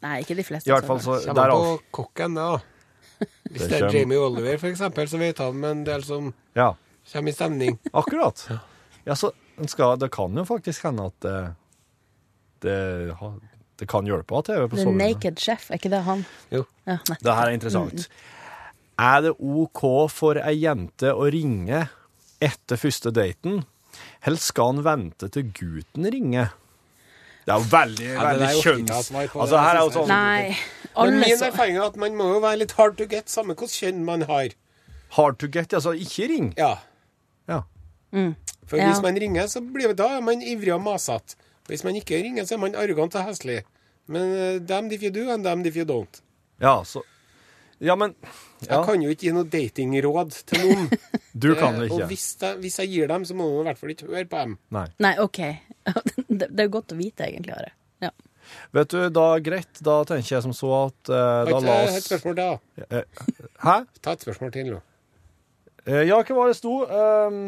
[SPEAKER 4] Nei, ikke de fleste.
[SPEAKER 3] I hvert fall så
[SPEAKER 1] Kommer
[SPEAKER 3] der, altså.
[SPEAKER 1] på kokken, det, da.
[SPEAKER 3] [LAUGHS]
[SPEAKER 1] Hvis
[SPEAKER 3] Det
[SPEAKER 1] det er
[SPEAKER 3] kjem-
[SPEAKER 1] Jamie Oliver, for eksempel, så vet han en del som
[SPEAKER 3] Ja,
[SPEAKER 1] kommer i stemning.
[SPEAKER 3] akkurat. Ja, så en skal, Det kan jo faktisk hende at det, det, ha- det kan hjelpe å ha TV på
[SPEAKER 4] The
[SPEAKER 3] soverommet.
[SPEAKER 4] Naked Chef, er ikke det han?
[SPEAKER 1] Jo.
[SPEAKER 4] Ja, nei.
[SPEAKER 3] Det her er interessant. Er det OK for ei jente å ringe etter første daten, eller skal han vente til gutten ringer? Det er jo veldig,
[SPEAKER 1] Ja, det
[SPEAKER 3] veldig
[SPEAKER 1] der orker ikke
[SPEAKER 3] kjønns...
[SPEAKER 1] jeg å svare på,
[SPEAKER 3] Altså,
[SPEAKER 1] det
[SPEAKER 3] her er jo
[SPEAKER 1] synes jeg.
[SPEAKER 3] sånn
[SPEAKER 4] Nei.
[SPEAKER 1] Men
[SPEAKER 4] Alle
[SPEAKER 1] min
[SPEAKER 4] så
[SPEAKER 1] erfaring er at man må jo være litt hard to get, samme hvilket kjønn man har.
[SPEAKER 3] hard to get. Altså, ikke ring.
[SPEAKER 1] Ja.
[SPEAKER 3] Ja.
[SPEAKER 1] For
[SPEAKER 4] Ja.
[SPEAKER 1] hvis man ringer, så blir det, da er man ivrig og masete. Hvis man ikke ringer, så er man arrogant og heslig. Men eh, damned if you do, and damned if you don't.
[SPEAKER 3] Ja, så Ja, men ja,
[SPEAKER 1] Jeg kan jo ikke gi noe datingråd til noen.
[SPEAKER 3] [LAUGHS]
[SPEAKER 1] Eh,
[SPEAKER 3] Du kan det
[SPEAKER 1] Og
[SPEAKER 3] ikke.
[SPEAKER 1] hvis jeg, hvis jeg gir dem, så må man i hvert fall ikke høre på dem.
[SPEAKER 3] Nei.
[SPEAKER 4] Nei, OK. [LAUGHS] Det det er jo godt å vite, egentlig, Are. Ja.
[SPEAKER 3] Vet du, da greit. Da tenker jeg som så at eh,
[SPEAKER 1] Ta
[SPEAKER 3] Da la
[SPEAKER 1] et- et
[SPEAKER 3] oss
[SPEAKER 1] spørsmål til, da.
[SPEAKER 3] Eh, Hæ?
[SPEAKER 1] Ta et spørsmål til nå.
[SPEAKER 3] Eh, Ja, hva var det sto? Ehm,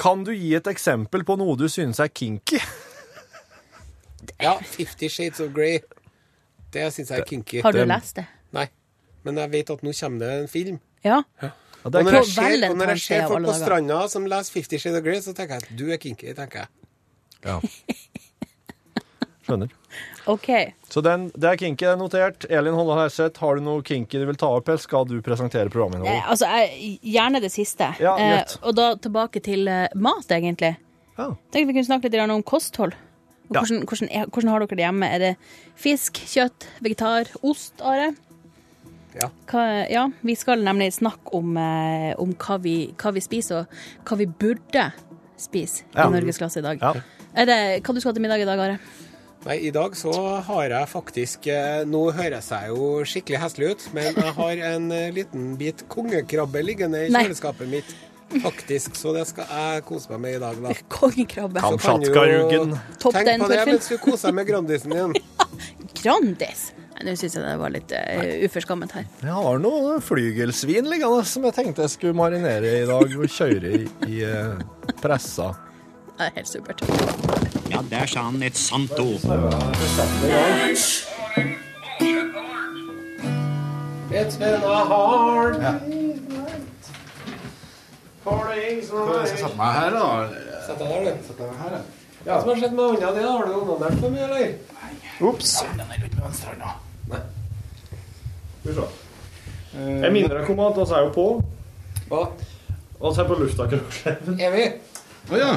[SPEAKER 3] kan du gi et eksempel på noe du synes er kinky?
[SPEAKER 1] Ja, 'Fifty Shades of Grey'. Det syns jeg er kinky.
[SPEAKER 4] Har du
[SPEAKER 3] Den-
[SPEAKER 4] lest det?
[SPEAKER 1] Nei. Men jeg vet at nå kommer det en film.
[SPEAKER 4] Ja.
[SPEAKER 3] Ja,
[SPEAKER 1] Og
[SPEAKER 3] det
[SPEAKER 1] når
[SPEAKER 3] er
[SPEAKER 1] jeg
[SPEAKER 4] På
[SPEAKER 1] ser, og når jeg
[SPEAKER 4] Valentine's Day
[SPEAKER 1] ser
[SPEAKER 4] av
[SPEAKER 1] folk
[SPEAKER 4] alle
[SPEAKER 1] på
[SPEAKER 4] dager.
[SPEAKER 1] stranda som leser 'Fifty Shades of Grey', så tenker jeg at du er kinky. tenker jeg.
[SPEAKER 3] [LAUGHS] Skjønner.
[SPEAKER 4] OK.
[SPEAKER 3] Så den, det er kinky, det er notert. Elin Holland Herseth, har du noe kinky du vil ta opp, eller skal du presentere
[SPEAKER 4] Eh,
[SPEAKER 3] programinnholdet?
[SPEAKER 4] altså, jeg, gjerne det siste.
[SPEAKER 3] Ja,
[SPEAKER 4] Eh,
[SPEAKER 3] greit.
[SPEAKER 4] og da tilbake til eh, mat, egentlig.
[SPEAKER 3] Ja.
[SPEAKER 4] Tenkte vi kunne snakke litt grann om kosthold. Og
[SPEAKER 3] Ja.
[SPEAKER 4] Hvordan, hvordan, er- hvordan har dere det hjemme? Er det fisk, kjøtt, vegetar, ost, Are?
[SPEAKER 1] Ja.
[SPEAKER 4] Hva, ja, vi skal nemlig snakke om, eh, om hva, vi, hva vi spiser, og hva vi burde spise
[SPEAKER 3] Ja.
[SPEAKER 4] i Norgesklasse i dag.
[SPEAKER 3] Ja.
[SPEAKER 4] Er det, hva du skal til middag i dag, Are?
[SPEAKER 1] Nei, i dag så har jeg faktisk eh, Nå høres jeg jo skikkelig heslig ut, men jeg har en eh, liten bit kongekrabbe liggende i
[SPEAKER 4] Nei.
[SPEAKER 1] kjøleskapet mitt. Faktisk, så det skal jeg kose meg med i dag, da.
[SPEAKER 4] Kongekrabbe.
[SPEAKER 3] Kan-
[SPEAKER 1] Så kan du jo
[SPEAKER 3] Kamtsjatka-ruggen.
[SPEAKER 4] Topp
[SPEAKER 1] Tenk
[SPEAKER 4] den
[SPEAKER 1] på det
[SPEAKER 4] perfekt.
[SPEAKER 1] mens du koser deg med Grandisen din.
[SPEAKER 4] Grandis! Nei, Nå syns jeg det var litt eh, uforskammet her.
[SPEAKER 3] Jeg har noe flygelsvin liggende som jeg tenkte jeg skulle marinere i dag, og kjøre i, i eh, pressa.
[SPEAKER 4] Det er helt supert.
[SPEAKER 5] Ja, der sa han et sant ord.
[SPEAKER 1] It's been a hard
[SPEAKER 6] Satt meg her, da.
[SPEAKER 1] Sett deg der, du. Hva som har skjedd med hånda di? da? Har du onanert for mye, eller?
[SPEAKER 3] Ops. Skal vi se. Jeg minner deg om at vi er jo på.
[SPEAKER 1] Hva?
[SPEAKER 3] Vi er på lufta, kanskje.
[SPEAKER 1] Er vi?
[SPEAKER 7] Å ja.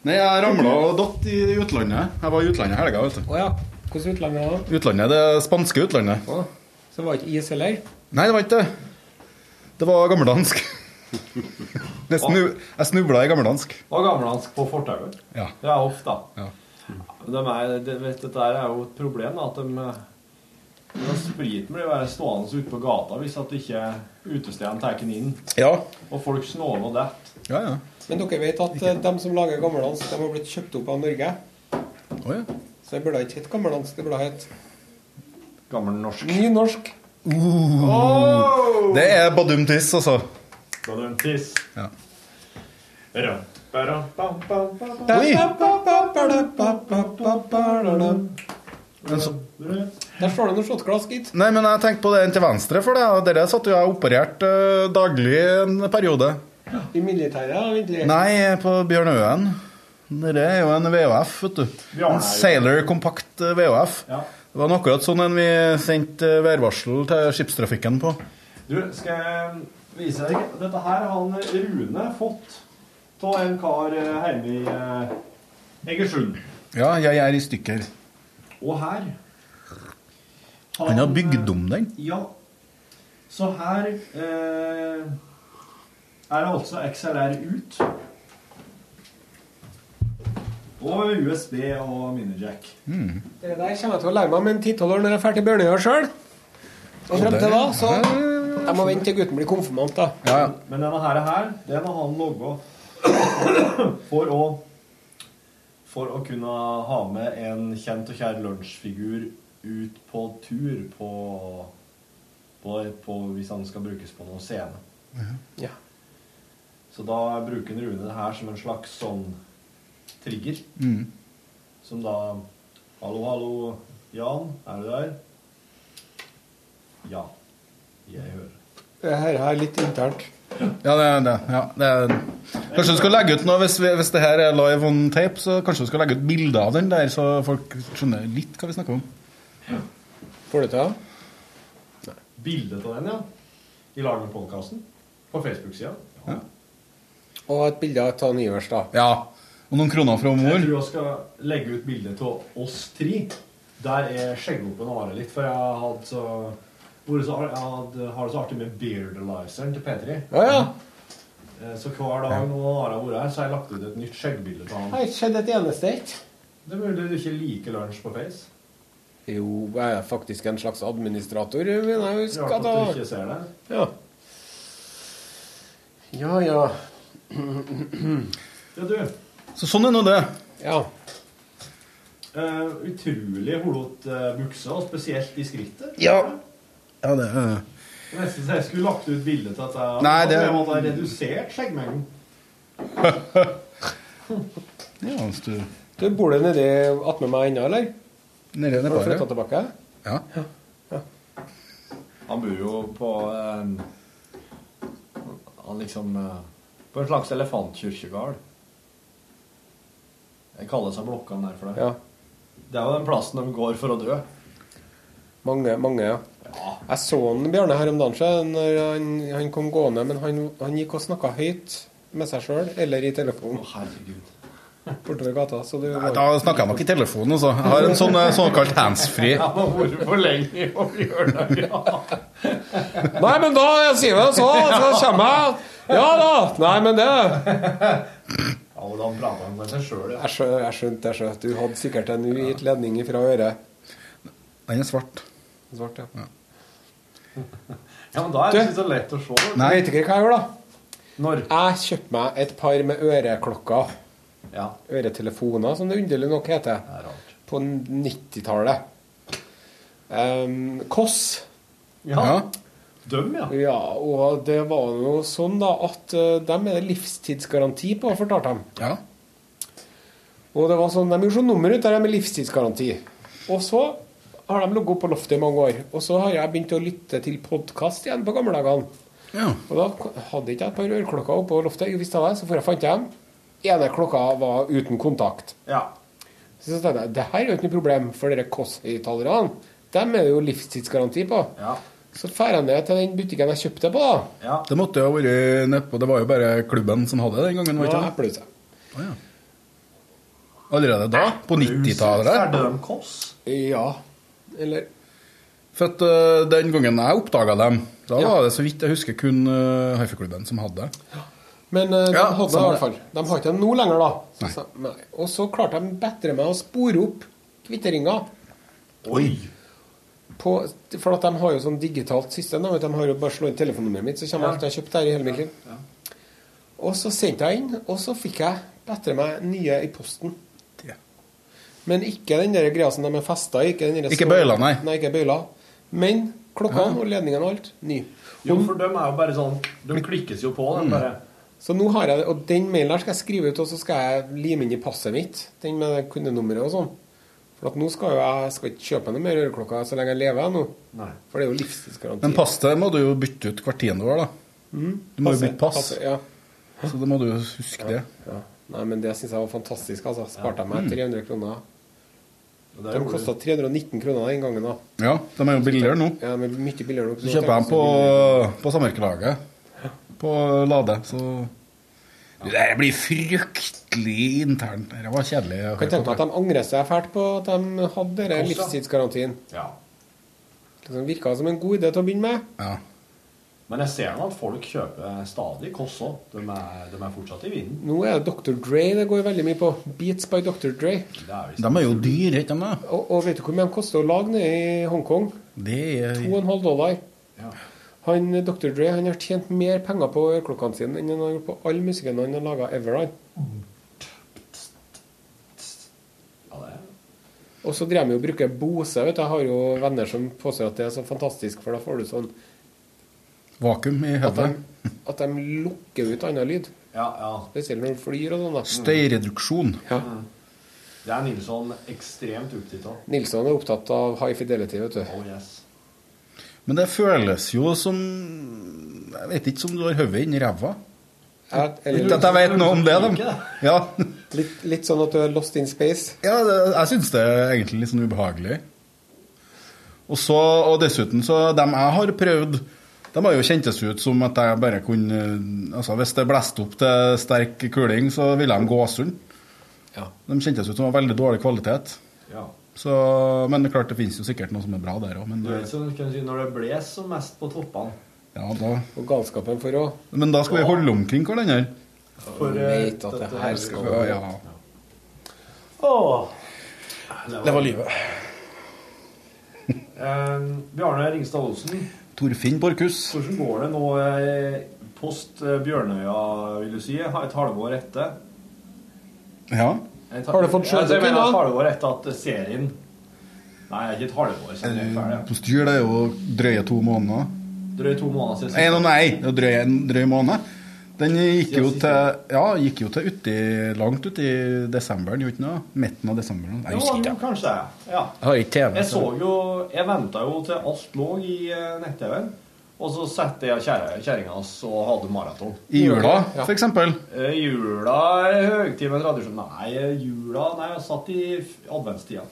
[SPEAKER 7] Nei, jeg ramla og datt i utlandet. Jeg var i utlandet i helga. vet
[SPEAKER 1] Å ja. Hvordan utlandet var det?
[SPEAKER 7] du Utlandet, Det spanske utlandet.
[SPEAKER 1] Å, Så var det ikke is heller?
[SPEAKER 7] Nei, det var ikke det. Det var [LAUGHS] gammeldansk. Jeg, snu, jeg snubla i gammeldansk.
[SPEAKER 3] Og gammeldansk på fortauet.
[SPEAKER 7] Ja.
[SPEAKER 3] Ja, ofte.
[SPEAKER 7] Ja.
[SPEAKER 3] De er, de, vet, dette er jo et problem, da, at de eh, når spriten blir bare stående ute på gata hvis at ikke utestedet tar den inn.
[SPEAKER 7] Ja.
[SPEAKER 3] Og folk snåler og detter.
[SPEAKER 7] Ja, ja.
[SPEAKER 1] Men dere vet at eh, dem som lager gammeldans, de har blitt kjøpt opp av Norge.
[SPEAKER 7] Å ja.
[SPEAKER 1] Så det burde ikke hett gammeldansk, det burde hett
[SPEAKER 3] Gammel norsk.
[SPEAKER 1] nynorsk.
[SPEAKER 7] Det er badumtiss, altså.
[SPEAKER 3] Badum-tiss.
[SPEAKER 7] Ja.
[SPEAKER 3] Ram, baram, bam, bam, bam, bam.
[SPEAKER 7] Oi!
[SPEAKER 1] Der
[SPEAKER 7] Men så,
[SPEAKER 1] står det noe shotglass, gitt.
[SPEAKER 7] nei, men jeg tenkte på den til venstre for deg. og Dere satt jo jeg operert eh, daglig en periode.
[SPEAKER 1] I militæret, ja, egentlig.
[SPEAKER 7] Nei, på Bjørnøen. Dette er jo en VHF, vet du. En Sailor Compact eh, VHF.
[SPEAKER 3] Ja.
[SPEAKER 7] Det var akkurat sånn en vi sendte eh, værvarsel til skipstrafikken på.
[SPEAKER 3] Du, skal jeg vise deg Dette her har han Rune fått
[SPEAKER 8] eh, av en kar eh, hjemme i eh, Egersund.
[SPEAKER 7] Ja, jeg er i stykker.
[SPEAKER 8] Og her eh,
[SPEAKER 7] Han har bygd om den.
[SPEAKER 8] Ja. Så her eh, er det altså XLR ut. Og USB og minijack.
[SPEAKER 1] Det der kommer jeg til å lære meg om en 10-12 år når jeg drar til Bjørnøya sjøl. Og frem til da, så Jeg må vente til gutten blir konfirmant, da.
[SPEAKER 7] Ja, ja.
[SPEAKER 8] Men denne her, her den har han logga for å For å kunne ha med en kjent og kjær lunsjfigur ut på tur på, på, på Hvis han skal brukes på noen scene.
[SPEAKER 1] Ja.
[SPEAKER 8] Så da bruker Rune det her som en slags sånn trigger. Som da Hallo, hallo, Jan, er du der? Ja. Jeg hører.
[SPEAKER 1] Dette er litt internt.
[SPEAKER 7] Ja, det er det. Ja, det er. Kanskje du skal legge ut noe hvis, vi- hvis det her er live on tape, så kanskje du skal legge ut bilder av den der, så folk skjønner litt hva vi snakker om.
[SPEAKER 1] Får du til det?
[SPEAKER 8] Bilde av den, ja. I lag med podkasten. På Facebook-sida.
[SPEAKER 1] Og et bilde av Tan Ivers, da.
[SPEAKER 7] Ja. Og noen kroner fra
[SPEAKER 8] Jeg
[SPEAKER 7] mor.
[SPEAKER 8] tror jeg skal legge ut bilde av oss tre. Der er skjegghopen Are litt, for jeg har hatt så vært så ar- jeg hadde- har det så artig med beardalizeren til P3.
[SPEAKER 1] Ja, ja.
[SPEAKER 8] Eh, Så hver dag når Are har vært her, så har jeg lagt ut et nytt skjeggbilde av
[SPEAKER 1] Det
[SPEAKER 8] han.
[SPEAKER 1] har ikke skjedd et eneste ett.
[SPEAKER 8] Det er mulig du ikke liker lunsj på Face.
[SPEAKER 1] Jo, jeg er faktisk en slags administrator, mener jeg.
[SPEAKER 8] Det er
[SPEAKER 1] Husk
[SPEAKER 8] Rart
[SPEAKER 1] at
[SPEAKER 8] at du
[SPEAKER 1] da
[SPEAKER 8] ikke ser det.
[SPEAKER 1] Ja. Ja, ja.
[SPEAKER 8] Ja, du.
[SPEAKER 7] Så sånn er nå det.
[SPEAKER 1] Ja.
[SPEAKER 8] eh, utrolig holete eh, bukser, og spesielt i skrittet.
[SPEAKER 7] Ja. Ja, det er
[SPEAKER 8] Det er Nesten så jeg skulle lagt ut bilde av at jeg,
[SPEAKER 7] Nei, det-
[SPEAKER 8] at jeg måtte ha redusert skjeggmengden.
[SPEAKER 7] Ja, hvis du
[SPEAKER 1] Du bor du nedi attmed meg ennå, eller?
[SPEAKER 7] Nede i det
[SPEAKER 1] Har du flytta
[SPEAKER 7] baret.
[SPEAKER 1] tilbake?
[SPEAKER 7] Ja.
[SPEAKER 8] Han bor jo på eh, Han liksom eh, På en slags elefantkirkegård. Jeg kaller seg blokkene der for det.
[SPEAKER 1] Ja.
[SPEAKER 8] Det er jo den plassen de går for å dø.
[SPEAKER 1] Mange, mange, ja. Jeg så han, Bjarne her om dagen så, når han, han kom gående, men han, han gikk og snakka høyt med seg sjøl eller i telefonen
[SPEAKER 8] Å, [LAUGHS] herregud.
[SPEAKER 1] bortover gata. Så det
[SPEAKER 7] Nei,
[SPEAKER 1] var
[SPEAKER 7] Da snakker jeg nok i telefonen, altså. Jeg har en sånn eh, såkalt handsfree.
[SPEAKER 8] Jeg har vært for lenge i å gjøre det. Ja.
[SPEAKER 1] Nei, men da jeg sier vi det så, så kommer jeg. Ja da! Nei, men det
[SPEAKER 8] [LAUGHS] Ja, og da prater han med seg sjøl, ja.
[SPEAKER 1] Jeg skjønte, jeg skjønte. Jeg skjønte. Du hadde sikkert en hvit ledning fra øret.
[SPEAKER 7] Den er svart.
[SPEAKER 1] Svart, ja.
[SPEAKER 8] ja. Men da er det ikke så lett å se.
[SPEAKER 7] Nei.
[SPEAKER 1] Vet ikke hva jeg gjorde, da.
[SPEAKER 8] Når
[SPEAKER 1] Jeg kjøpte meg et par med øreklokker.
[SPEAKER 8] Ja,
[SPEAKER 1] Øretelefoner, som det underlig nok heter.
[SPEAKER 8] det er rart.
[SPEAKER 1] På 90-tallet. Ehm, Koss.
[SPEAKER 8] Ja.
[SPEAKER 7] Ja.
[SPEAKER 8] Døm, ja.
[SPEAKER 1] Ja, og det var jo sånn da at eh, dem er det livstidsgaranti på, fortalte de.
[SPEAKER 7] ja.
[SPEAKER 1] Og det var sånn, de gjorde sånn nummer ut der med livstidsgaranti. Og så har de ligget på loftet i mange år. Og så har jeg begynt å lytte til podkast igjen på gamle dagene.
[SPEAKER 7] ja.
[SPEAKER 1] Og da hadde ikke jeg et par øreklokker oppå loftet. Jo visst hadde jeg, så for jeg fant dem. Ene klokka var uten kontakt.
[SPEAKER 8] ja.
[SPEAKER 1] Så tenkte jeg det her er jo ikke noe problem for dere Kåss-høyttalerne. Dem er det jo livstidsgaranti på.
[SPEAKER 8] Ja.
[SPEAKER 1] Så drar jeg ned til den butikken jeg kjøpte på, da.
[SPEAKER 8] ja.
[SPEAKER 7] Det måtte jo ha vært nedpå Det var jo bare klubben som hadde det den gangen, var
[SPEAKER 1] Ja,
[SPEAKER 7] ikke det?
[SPEAKER 1] Eplehuset.
[SPEAKER 7] Allerede da? På 90-tallet?
[SPEAKER 8] Er det en koss?
[SPEAKER 1] Ja. Eller
[SPEAKER 7] For at eh, den gangen jeg oppdaga dem, da
[SPEAKER 1] Ja.
[SPEAKER 7] var det så vidt jeg husker kun uh, Hifi-klubben som hadde det.
[SPEAKER 1] Men eh,
[SPEAKER 7] Ja,
[SPEAKER 1] de hadde det i
[SPEAKER 7] samme
[SPEAKER 1] hvert fall. De har ikke det nå lenger, da. Så,
[SPEAKER 7] Nei.
[SPEAKER 1] sa- nei. Og så klarte de bedre meg å spore opp kvitteringa.
[SPEAKER 8] Oi.
[SPEAKER 1] På, for at de har jo sånn digitalt system. da, vet du. De har jo bare slå inn telefonnummeret mitt, så kommer alt jeg har kjøpt der i hele mitt liv. Og så sendte jeg inn, og så fikk jeg bedre meg nye i posten.
[SPEAKER 7] Ja.
[SPEAKER 1] Men ikke den der greia som de er festa i. Ikke, den der
[SPEAKER 7] Ikke
[SPEAKER 1] store-
[SPEAKER 7] bøyler, nei.
[SPEAKER 1] nei. Ikke bøyler. Men klokkene og ledningene og alt ny.
[SPEAKER 8] Jo, for dem er jo bare sånn De klikkes jo på, den bare.
[SPEAKER 1] Så nå har jeg det, og den mailen her skal jeg skrive ut, og så skal jeg lime inn i passet mitt. Den med det kundenummeret og sånn. For at nå skal jo jeg skal ikke kjøpe noe mer øreklokker så lenge jeg lever jeg nå.
[SPEAKER 8] Nei.
[SPEAKER 1] For det er jo
[SPEAKER 7] Men
[SPEAKER 1] livstidsgaranti.
[SPEAKER 7] passet må du jo bytte ut hvert tiende år, da. Du må jo bytte pass,
[SPEAKER 1] Mm. Passet, ja.
[SPEAKER 7] så da må du jo huske det.
[SPEAKER 1] ja. Nei, men det syns jeg var fantastisk, altså. Sparte jeg meg 300 kroner.
[SPEAKER 8] Og det
[SPEAKER 1] De
[SPEAKER 8] er jo-
[SPEAKER 1] kosta 319 kroner den gangen, da.
[SPEAKER 7] Ja, de er jo billigere nå.
[SPEAKER 1] Ja, men mye billigere nok.
[SPEAKER 7] Så kjøper jeg dem på, på samvirkelaget. På Lade. Så Det blir fryktelig internt. Det var kjedelig. å
[SPEAKER 1] Kan
[SPEAKER 7] høre
[SPEAKER 1] tenke meg
[SPEAKER 7] på.
[SPEAKER 1] at de angrer seg fælt på at de hadde denne livstidsgarantien.
[SPEAKER 8] Ja.
[SPEAKER 1] Det virka som en god idé til å begynne med.
[SPEAKER 7] Ja.
[SPEAKER 8] Men jeg ser nå at folk kjøper stadig Kåss òg. De, er- de er fortsatt i vinden.
[SPEAKER 1] Nå er det Dr. Dre det går veldig mye på. Beats by Dr. Dre.
[SPEAKER 8] Det er visst
[SPEAKER 7] De er jo dyre, ikke de?
[SPEAKER 1] Og, og vet du hvor mye de koster å lage nede i Hongkong?
[SPEAKER 7] da? Det er
[SPEAKER 1] 2,5 dollar.
[SPEAKER 8] Ja.
[SPEAKER 1] Han, Dr. Dre han har tjent mer penger på øreklokkene sine enn han har gjort på all musikken han har laga ever. han.
[SPEAKER 8] ja, det. er-
[SPEAKER 1] Og så driver vi og bruker Bose. vet du. Jeg har jo venner som påstår at det er så fantastisk, for da får du sånn
[SPEAKER 7] vakuum i
[SPEAKER 1] at
[SPEAKER 7] hodet. [LAUGHS]
[SPEAKER 1] de, at de lukker ut annen lyd.
[SPEAKER 8] Ja, ja.
[SPEAKER 1] Spesielt når du flyr og sånn. da.
[SPEAKER 7] Støyreduksjon.
[SPEAKER 1] Ja.
[SPEAKER 8] Det er Nilsson ekstremt opptatt av.
[SPEAKER 1] Nilsson er opptatt av high fidelity, vet du.
[SPEAKER 8] Oh yes.
[SPEAKER 7] Men det føles jo som Jeg vet ikke som du har hodet inni ræva.
[SPEAKER 1] Jeg,
[SPEAKER 7] Ikke
[SPEAKER 1] eller,
[SPEAKER 7] at jeg vet noe om det, da.
[SPEAKER 8] Ikke
[SPEAKER 7] [LAUGHS] Ja,
[SPEAKER 1] litt, litt sånn at du er lost in space.
[SPEAKER 7] ja det, jeg syns det er egentlig litt sånn ubehagelig. Og, så, og dessuten, så dem jeg har prøvd De har jo kjentes ut som at jeg bare kunne Altså, hvis det blåste opp til sterk kuling, så ville de gå sund.
[SPEAKER 1] Ja.
[SPEAKER 7] De kjentes ut som var veldig dårlig kvalitet.
[SPEAKER 8] Ja.
[SPEAKER 7] Så, men det er klart det finnes jo sikkert noe som er bra der òg, men
[SPEAKER 8] Du vet som du kan si, når det bles som mest på toppene
[SPEAKER 7] ja, da,
[SPEAKER 1] Og galskapen for å
[SPEAKER 7] men da skal vi holde omkring hverandre.
[SPEAKER 8] For eh,
[SPEAKER 1] vite at det her skal
[SPEAKER 7] Ja, ja.
[SPEAKER 8] Åh.
[SPEAKER 7] Det var
[SPEAKER 8] [LAUGHS]
[SPEAKER 7] livet.
[SPEAKER 8] Eh, Bjarne Ringstad Olsen,
[SPEAKER 7] Torfinn Borchhus.
[SPEAKER 8] hvordan går det nå eh, post eh, Bjørnøya, vil du si? Ha- Et halvår etter?
[SPEAKER 7] Ja.
[SPEAKER 8] Et-
[SPEAKER 1] Har du fått
[SPEAKER 8] Ja, altså, jeg
[SPEAKER 1] sjødykking
[SPEAKER 8] mener
[SPEAKER 1] nå?
[SPEAKER 8] Et halvår etter at serien Nei, ikke et halvår. siden den er ferdig.
[SPEAKER 7] På styr det er jo drøye to måneder.
[SPEAKER 8] Drøye to måneder siden.
[SPEAKER 7] Nei, no, nei, det er drøy en drøy måned. Den gikk jo til Ja, gikk jo til uti, langt uti desemberen, gjorde den ikke det? Midten av desemberen. Jeg
[SPEAKER 8] Jo,
[SPEAKER 7] husker
[SPEAKER 8] jo,
[SPEAKER 7] ikke.
[SPEAKER 8] kanskje det. Ja.
[SPEAKER 7] Jeg har ikke TV.
[SPEAKER 8] Jeg så jo Jeg venta jo til alt lå i eh, nett-TV-en. Og så satte jeg kjære- kjerringa hans og hadde maraton.
[SPEAKER 7] I jula,
[SPEAKER 1] Ja.
[SPEAKER 7] for eksempel.
[SPEAKER 8] Eh, Jula er høytid med tradisjon. Nei, eh, jula Nei, jeg satt i f- adventstida.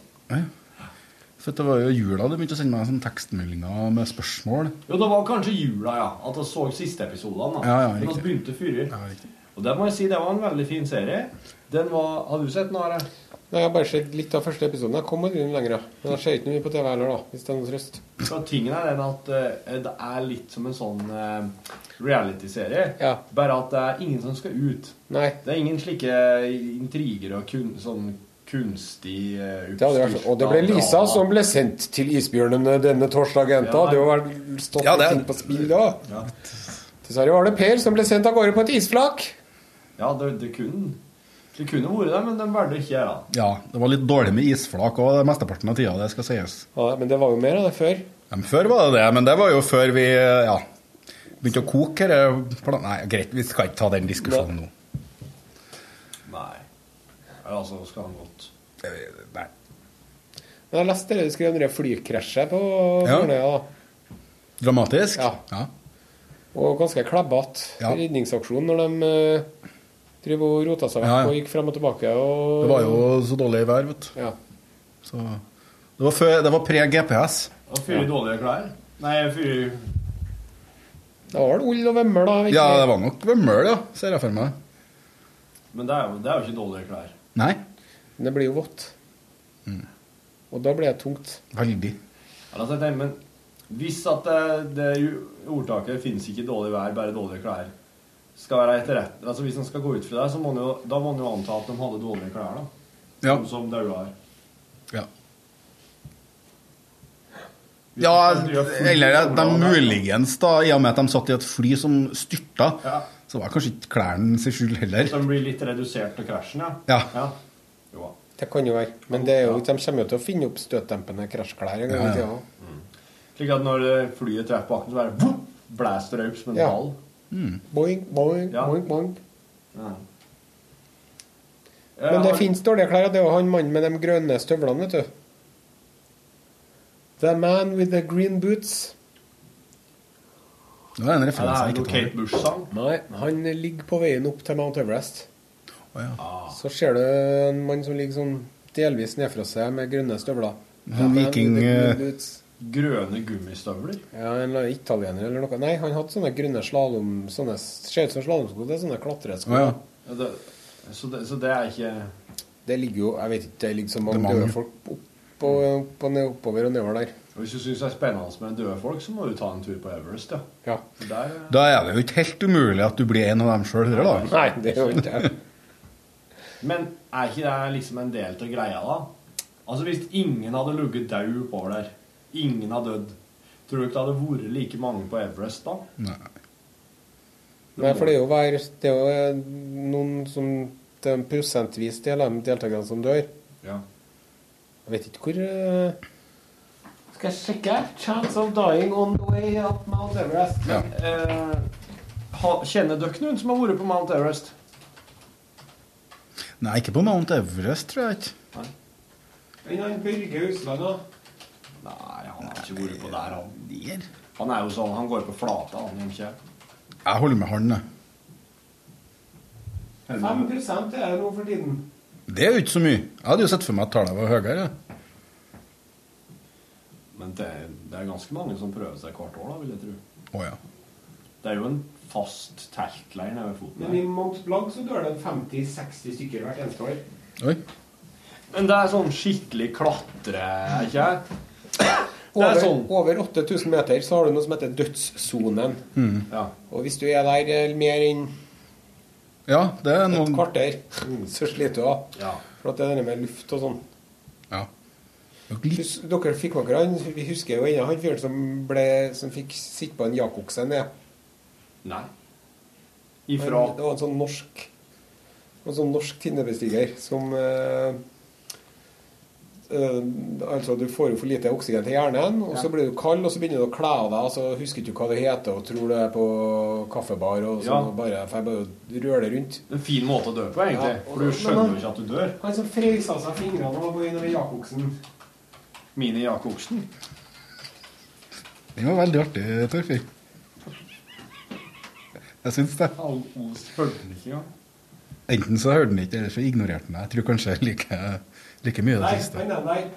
[SPEAKER 7] For det var jo jula du begynte å sende meg sånne tekstmeldinger med spørsmål.
[SPEAKER 8] Jo, det var kanskje jula, ja. At jeg så siste episodene. da.
[SPEAKER 7] Ja, ja,
[SPEAKER 8] Men vi
[SPEAKER 7] riktig.
[SPEAKER 8] begynte fyrer.
[SPEAKER 7] Ja, riktig.
[SPEAKER 8] Og det må jeg si, det var en veldig fin serie. Den var Har du sett den, Are?
[SPEAKER 1] Nei, Jeg har bare sett litt av første episoden. Jeg kom aldri lenger. da. Men jeg ser ikke noe mye på TV heller, da. Hvis det er noe trøst.
[SPEAKER 8] For tingen er den at eh, det er litt som en sånn eh, reality-serie.
[SPEAKER 1] Ja.
[SPEAKER 8] Bare at det er ingen som skal ut.
[SPEAKER 1] Nei.
[SPEAKER 8] Det er ingen slike eh, intriger og kun, sånn kunstig eh,
[SPEAKER 1] Det hadde vært sånn. Og det ble Lisa som ble sendt til isbjørnene denne torsdagen. Da
[SPEAKER 8] Ja, nei.
[SPEAKER 1] hadde jo vært stått
[SPEAKER 7] Ja,
[SPEAKER 1] litt
[SPEAKER 7] det-
[SPEAKER 1] ting på spill da.
[SPEAKER 8] Ja.
[SPEAKER 1] Dessverre var det Per som ble sendt av gårde på et isflak.
[SPEAKER 8] Ja, det, det kunne Det kunne vært det, men den valgte ikke jeg, da.
[SPEAKER 7] Ja, det var litt dårlig med isflak òg, mesteparten av tida, det skal sies.
[SPEAKER 1] Ja, men det var jo mer av det før.
[SPEAKER 7] Ja, men før var det det, men det var jo før vi ja, begynte å koke dette plan- Nei, greit, vi skal ikke ta den diskusjonen nå.
[SPEAKER 8] Nei. Ja, Altså, skal han godt
[SPEAKER 7] Eh, Nei.
[SPEAKER 1] Men jeg leste det du skrev om det flykrasjet på
[SPEAKER 7] Ja.
[SPEAKER 1] Bjørnøya. da.
[SPEAKER 7] Dramatisk?
[SPEAKER 1] Ja. Og ganske klebbete
[SPEAKER 7] Ja.
[SPEAKER 1] redningsaksjon når de uh, driver og rota seg vekk
[SPEAKER 7] Ja, ja.
[SPEAKER 1] og gikk frem og tilbake. Og,
[SPEAKER 7] Det var jo så dårlig vær, vet du.
[SPEAKER 1] ja.
[SPEAKER 7] Så det var, før, det var pre GPS.
[SPEAKER 8] Og fyre dårlige klær? Nei, fyre
[SPEAKER 1] Det var vel ull og vemmel, da. vet
[SPEAKER 7] Ja,
[SPEAKER 1] du.
[SPEAKER 7] det var nok Vømmøl, ja, ser jeg for meg.
[SPEAKER 8] Men det er, jo, det er jo ikke dårlige klær.
[SPEAKER 7] Nei,
[SPEAKER 1] Men det blir jo vått.
[SPEAKER 7] Mm.
[SPEAKER 1] Og da blir det tungt.
[SPEAKER 7] veldig.
[SPEAKER 8] Altså, jeg tenker, men hvis at det, det jo- ordtaket 'fins ikke dårlig vær, bare dårlige klær' skal være etterrett, altså Hvis en skal gå ut fra det, så må en jo, da må en jo anta at de hadde dårlige klær, da.
[SPEAKER 7] Ja.
[SPEAKER 8] Sånn som daua her.
[SPEAKER 7] ja. Ja, eller at de muligens, da, i og med at de satt i et fly som styrta,
[SPEAKER 8] Ja.
[SPEAKER 7] så var kanskje ikke klærne sin skyld heller.
[SPEAKER 8] Som blir litt redusert til krasjen, ja?
[SPEAKER 7] Ja.
[SPEAKER 8] Jo da.
[SPEAKER 1] Det kan jo være. Men det er jo, de kommer jo til å finne opp støtdempende krasjklær en gang i
[SPEAKER 7] Ja, ja.
[SPEAKER 1] tida.
[SPEAKER 8] Slik at når eh, flyet treffer bakken, så bare voff, blæster det opp som en
[SPEAKER 1] Ja.
[SPEAKER 8] ball.
[SPEAKER 1] Boing, boing,
[SPEAKER 8] Ja.
[SPEAKER 1] boing, boing.
[SPEAKER 8] Ja.
[SPEAKER 1] Men det
[SPEAKER 8] Eh,
[SPEAKER 1] finnes dårlige klær, og det er jo han mannen med de grønne støvlene, vet du. The man with the green boots.
[SPEAKER 7] Det var en
[SPEAKER 8] Ja, det
[SPEAKER 7] referanse
[SPEAKER 8] er
[SPEAKER 7] jeg
[SPEAKER 8] jo
[SPEAKER 7] ikke tar.
[SPEAKER 8] Kate Bush-sang.
[SPEAKER 1] Nei, han ligger på veien opp til Mount Everest.
[SPEAKER 7] Å, ja.
[SPEAKER 1] Så ser du en mann som ligger sånn delvis nedfra seg med grønne støvler.
[SPEAKER 7] Han viking,
[SPEAKER 1] Ja, men-
[SPEAKER 7] eh,
[SPEAKER 1] boots.
[SPEAKER 8] Grønne gummistøvler.
[SPEAKER 1] Ja, en eller annen italiener eller noe. Nei, han hadde sånne grønne slalom... Sånne, ser ut som slalomsko, det er sånne klatresko.
[SPEAKER 7] Å, ja.
[SPEAKER 8] Ja, det, så, det, så det er ikke
[SPEAKER 1] Det ligger jo Jeg vet ikke, det ligger så mange,
[SPEAKER 7] Det er mange.
[SPEAKER 1] døde folk opp og, opp og ned, oppover og nedover der.
[SPEAKER 8] og Hvis du syns det er spennende med døde folk, så må du ta en tur på Everest, ja.
[SPEAKER 1] Ja.
[SPEAKER 8] For Der, eh,
[SPEAKER 7] Da er det jo ikke helt umulig at du blir en av dem sjøl, hører du? da?
[SPEAKER 1] Nei, det er jo ikke det.
[SPEAKER 8] Men er ikke det liksom en del av greia, da? Altså Hvis ingen hadde ligget død oppover der, ingen hadde dødd, tror du ikke det hadde vært like mange på Everest da?
[SPEAKER 7] Nei.
[SPEAKER 1] Nei, for det er jo, hver, det er jo eh, noen som Det er en prosentvis del av de deltakerne som dør. Jeg
[SPEAKER 8] Ja.
[SPEAKER 1] vet ikke hvor eh, Skal jeg sjekke her? Chance of dying on the way up Mount Everest.
[SPEAKER 7] Ja.
[SPEAKER 8] Eh, ha, kjenner dere noen som har vært på Mount Everest?
[SPEAKER 7] Nei, ikke på Mount Everest, tror jeg ikke.
[SPEAKER 1] Men han Børge Husland, da?
[SPEAKER 8] Nei, han har ikke vært på der, han.
[SPEAKER 7] Der.
[SPEAKER 8] Han er jo sånn, han går på flata, han gjør ikke det?
[SPEAKER 7] Jeg holder med han, jeg.
[SPEAKER 1] 5 er det nå for tiden.
[SPEAKER 7] Det er jo ikke så mye. Jeg hadde jo sett for meg at tallet var høyere. jeg.
[SPEAKER 8] Men det, er- det er ganske mange som prøver seg hvert år, da, vil jeg tro.
[SPEAKER 7] Å ja.
[SPEAKER 8] Det er jo en fast teltleir nede ved foten. her.
[SPEAKER 1] Mount Blanc så dør det 50-60 stykker hvert eneste år.
[SPEAKER 7] Oi.
[SPEAKER 8] Men det er sånn skikkelig klatre, er ikke jeg? Det er
[SPEAKER 1] Over,
[SPEAKER 8] sånn.
[SPEAKER 1] over 8000 meter så har du noe som heter dødssonen.
[SPEAKER 8] Ja.
[SPEAKER 1] Og hvis du er der eh, mer enn
[SPEAKER 7] Ja, det er
[SPEAKER 1] et
[SPEAKER 7] noen
[SPEAKER 1] kvarter, så sliter du av.
[SPEAKER 8] ja.
[SPEAKER 1] For at det er det med luft og sånn.
[SPEAKER 7] Ja. Det er jo litt-
[SPEAKER 1] Hus- Dere fikk dere han, vi husker jo ennå han fyren som, ble- som fikk sitte på en jakokse ned.
[SPEAKER 8] Nei.
[SPEAKER 1] Han-
[SPEAKER 8] Ifra
[SPEAKER 1] Det var en sånn norsk En sånn norsk tinnebestiger som eh, eh, Altså, du får jo for lite oksygen til hjernen, og så blir du kald, og så begynner du å kle av deg, og så husker du ikke hva det heter, og tror du er på kaffebar og sånn,
[SPEAKER 8] Ja.
[SPEAKER 1] og bare, for jeg bare røler rundt.
[SPEAKER 8] En fin måte å dø på, egentlig.
[SPEAKER 1] Ja.
[SPEAKER 8] For du skjønner jo ikke at du dør.
[SPEAKER 1] Han som frøysa seg fingrene og var innover jakoksen.
[SPEAKER 8] Mini Jacobsen.
[SPEAKER 7] Den var veldig artig, Torfinn. Jeg syns det. Enten så hørte den ikke, eller så ignorerte den meg. Jeg tror kanskje jeg liker like mye det
[SPEAKER 1] Nei,
[SPEAKER 7] siste.
[SPEAKER 1] han der,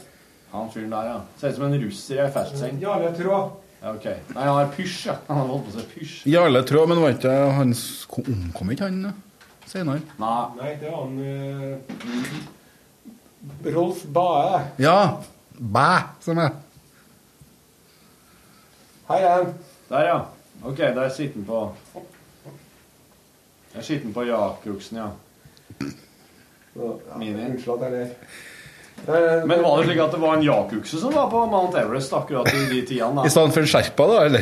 [SPEAKER 8] Han fyren der, ja. Ser ut som en russer i ei
[SPEAKER 1] nei.
[SPEAKER 8] festseng.
[SPEAKER 1] Jarle Tråd.
[SPEAKER 8] Ja, ok. Nei, han har pysj, ja. Han har holdt på å si pysj.
[SPEAKER 7] Jarle Traa, men var ikke han Omkom ikke han senere?
[SPEAKER 8] Nei.
[SPEAKER 1] Nei, det var han eh, Rolf Bae.
[SPEAKER 7] Ja! Bæ, som jeg.
[SPEAKER 1] Hei, Ann.
[SPEAKER 8] Der, ja. Ok, der sitter han på Der sitter han på Jacobsen, ja. Mini.
[SPEAKER 1] Unnskyld at jeg ler. Eh,
[SPEAKER 8] Men var det slik at det var en jakukse som var på Mount Everest akkurat i de tidene?
[SPEAKER 7] I
[SPEAKER 8] da?
[SPEAKER 7] stedet for en sherpa, da, eller?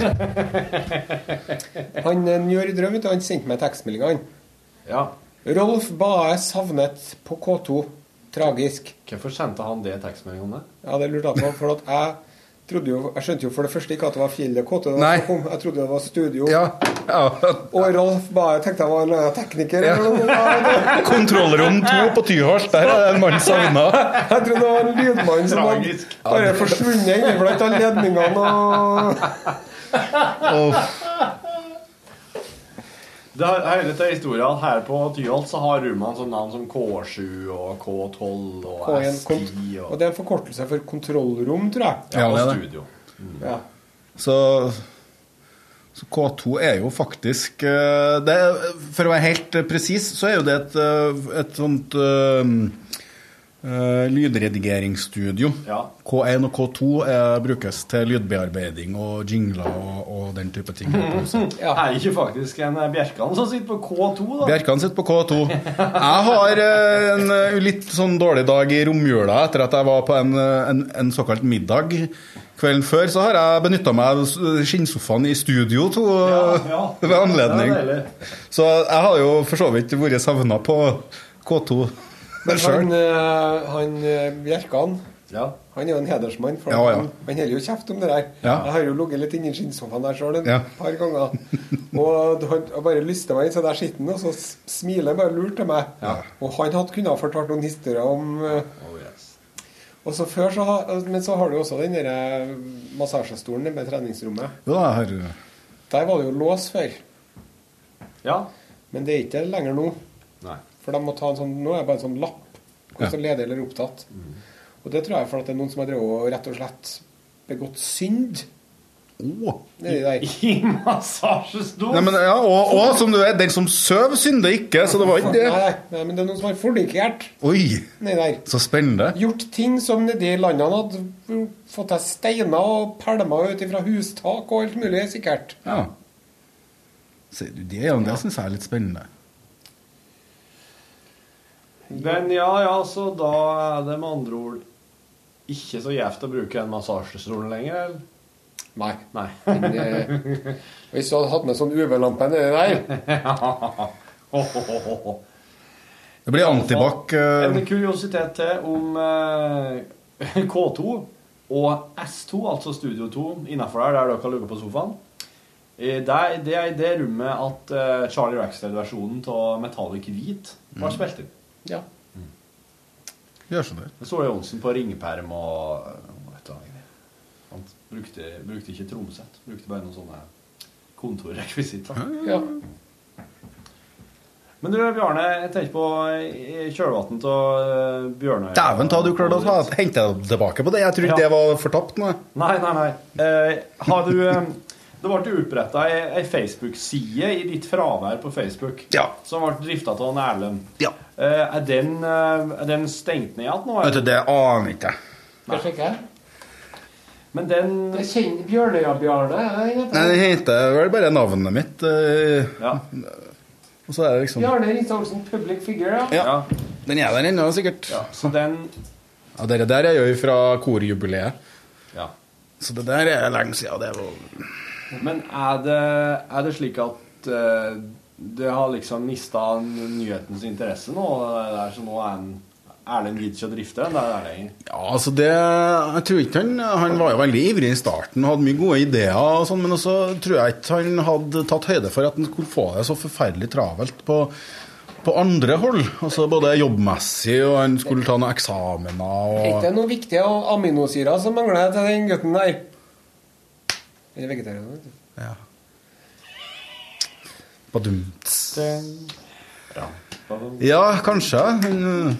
[SPEAKER 1] Han eh, Njør Drøm vet du, han sendte meg tekstmeldinga. han.
[SPEAKER 8] Ja.
[SPEAKER 1] Rolf Bae savnet på K2. Tragisk.
[SPEAKER 8] Hvorfor sendte han det tekstmelding om det?
[SPEAKER 1] Ja, det lurte jeg på. For at jeg, trodde jo, jeg skjønte jo for det første ikke at det var fjellet K2. det var
[SPEAKER 7] Nei.
[SPEAKER 1] som kom. Jeg trodde det var studio.
[SPEAKER 7] Ja. ja.
[SPEAKER 1] Og Rolf Bae tenkte jeg var en eh, tekniker. Eller noe.
[SPEAKER 7] Kontrollrom to på Tyholt, der er det en mann savna.
[SPEAKER 1] Jeg trodde det var en lydmann som hadde
[SPEAKER 8] Tragisk.
[SPEAKER 1] bare forsvunnet inni blant alle ledningene og
[SPEAKER 8] Det er, hele til historien Her på Tyholt så har rommene sånn navn som K7 og K12 og
[SPEAKER 1] Og, en
[SPEAKER 8] S10
[SPEAKER 1] kont og
[SPEAKER 8] og,
[SPEAKER 1] det er en forkortelse for kontrollrom, tror jeg.
[SPEAKER 8] ja,
[SPEAKER 7] Ja,
[SPEAKER 8] og
[SPEAKER 7] det er det.
[SPEAKER 8] studio.
[SPEAKER 1] Ja.
[SPEAKER 7] Så, så K2 er jo faktisk eh, det, er- For å være helt eh, presis, så er jo det et, eh, et sånt eh, eh, lydredigeringsstudio.
[SPEAKER 8] Ja.
[SPEAKER 7] K1 og K2 eh, brukes til lydbearbeiding og jingler og, og den type ting.
[SPEAKER 8] Ja. Er det ikke faktisk en eh, Bjerkan som sitter på K2, da?
[SPEAKER 7] Bjerkan sitter på K2. Jeg har eh, en eh, litt sånn dårlig dag i romjula etter at jeg var på en, eh, en, en såkalt middag. Kvelden før så har jeg benytta meg av s- skinnsofaen i studio to, [LAUGHS]
[SPEAKER 8] ja.
[SPEAKER 7] ved anledning.
[SPEAKER 8] Det er deilig.
[SPEAKER 7] så jeg har jo for så vidt vært savna på K2
[SPEAKER 1] Han,
[SPEAKER 7] sjøl.
[SPEAKER 1] eh, han eh, Bjerkan
[SPEAKER 8] Ja.
[SPEAKER 1] han er jo en hedersmann, for
[SPEAKER 7] Ja, ja.
[SPEAKER 1] han, han holder jo kjeft om det der.
[SPEAKER 7] Ja.
[SPEAKER 1] Jeg har jo ligget litt inni skinnsofaen der sjøl et
[SPEAKER 7] Ja.
[SPEAKER 1] par ganger. Og han jeg bare lyster meg inn, så der sitter han, og så s- smiler han bare lurt til meg. Og han hadde kunnet ha fortalt noen historier om eh,
[SPEAKER 8] Oh, yes.
[SPEAKER 1] og så før så har, Men så har du jo også den der eh, massasjestolen med treningsrommet.
[SPEAKER 7] Jo da, jeg har
[SPEAKER 1] Der var det jo lås før,
[SPEAKER 8] ja.
[SPEAKER 1] men det er ikke det lenger nå.
[SPEAKER 8] Nei.
[SPEAKER 1] For de må ta en sånn, nå er det bare en sånn lapp hvor det står ledig eller opptatt. Og det tror jeg er for at det er noen som har drevet og rett og slett begått synd
[SPEAKER 7] Å!
[SPEAKER 1] Nedi der.
[SPEAKER 8] I massasjestor!
[SPEAKER 7] Nei, men, ja, og, og som du vet, den som søv, synder ikke, så det var ikke det.
[SPEAKER 1] Nei, nei, men det er noen som har forlikert
[SPEAKER 7] Oi,
[SPEAKER 1] nedi der.
[SPEAKER 7] så spennende.
[SPEAKER 1] Gjort ting som nedi landene hadde fått til steiner og pælmer ut fra hustak og alt mulig, sikkert.
[SPEAKER 7] Ja. Ser du det, Jan? Det syns jeg er litt spennende.
[SPEAKER 8] Men ja, ja, så da er det med andre ord ikke så gjevt å bruke den massasjestolen lenger, eller?
[SPEAKER 1] Nei.
[SPEAKER 8] Nei.
[SPEAKER 1] Men, eh, hvis du hadde hatt med sånn UV-lampe nedi der
[SPEAKER 7] Det blir antibac.
[SPEAKER 8] En
[SPEAKER 7] eh,
[SPEAKER 8] kuriositet til om eh, K2 og S2, altså Studio 2, innafor der, der dere har ligget på sofaen. Eh, der- Det er i det rommet at eh, Charlie Rackstead-versjonen av Metallic Hvit var spilt inn.
[SPEAKER 1] Ja.
[SPEAKER 7] Gjør sånn der.
[SPEAKER 8] Det så Johnsen på ringeperm og og vet du hva greier. Han brukte, brukte ikke trommesett. Brukte bare noen sånne kontorrekvisitter.
[SPEAKER 1] ja.
[SPEAKER 8] Men du, Bjarne, jeg tenker på eh, i kjølvannet av Bjørnøy
[SPEAKER 7] Dæven ta, du klarte å ta- hente deg tilbake på det. Jeg trodde
[SPEAKER 8] Ja.
[SPEAKER 7] det var fortapt nå.
[SPEAKER 8] Nei, nei, nei. Eh, har du eh, Det ble oppretta ei, ei Facebook-side i ditt fravær på Facebook
[SPEAKER 7] Ja.
[SPEAKER 8] som ble drifta av en Erlend.
[SPEAKER 7] Ja.
[SPEAKER 8] Eh, er, den, eh, er den stengt ned igjen nå?
[SPEAKER 7] Vet
[SPEAKER 8] eller?
[SPEAKER 7] du, det aner ikke jeg.
[SPEAKER 1] Skal jeg sjekke?
[SPEAKER 8] Men den
[SPEAKER 1] Jeg kjenner Bjørnøya-Bjarne. jeg vet
[SPEAKER 7] Nei,
[SPEAKER 1] det.
[SPEAKER 7] det heter vel bare navnet mitt. eh,
[SPEAKER 8] Ja.
[SPEAKER 7] Og så er det liksom
[SPEAKER 1] Bjarne Rista Olsen, public figure, ja.
[SPEAKER 7] Ja.
[SPEAKER 8] ja.
[SPEAKER 7] Den er der ennå, sikkert.
[SPEAKER 8] ja. Så den
[SPEAKER 7] Ja, Det der er jo fra korjubileet.
[SPEAKER 8] Ja.
[SPEAKER 7] Så det der er lenge siden. Det var
[SPEAKER 8] Men er det, er det slik at uh, det har liksom mista nyhetens interesse nå? Det der, så nå er en Erlend gidder ikke å drifte den? Der er det lenger.
[SPEAKER 7] Ja, altså det Jeg tror ikke han Han var jo veldig ivrig i starten og hadde mye gode ideer, og sånn, men også tror jeg ikke han hadde tatt høyde for at han skulle få det så forferdelig travelt på, på andre hold. Altså Både jobbmessig, og han skulle ta noen eksamener
[SPEAKER 1] Er ikke
[SPEAKER 7] og
[SPEAKER 1] det noe viktig av aminosyrer som mangler til den gutten der? Eller vegetarianer, vet du.
[SPEAKER 7] ja. Badumts. Ja, kanskje. Han, øh,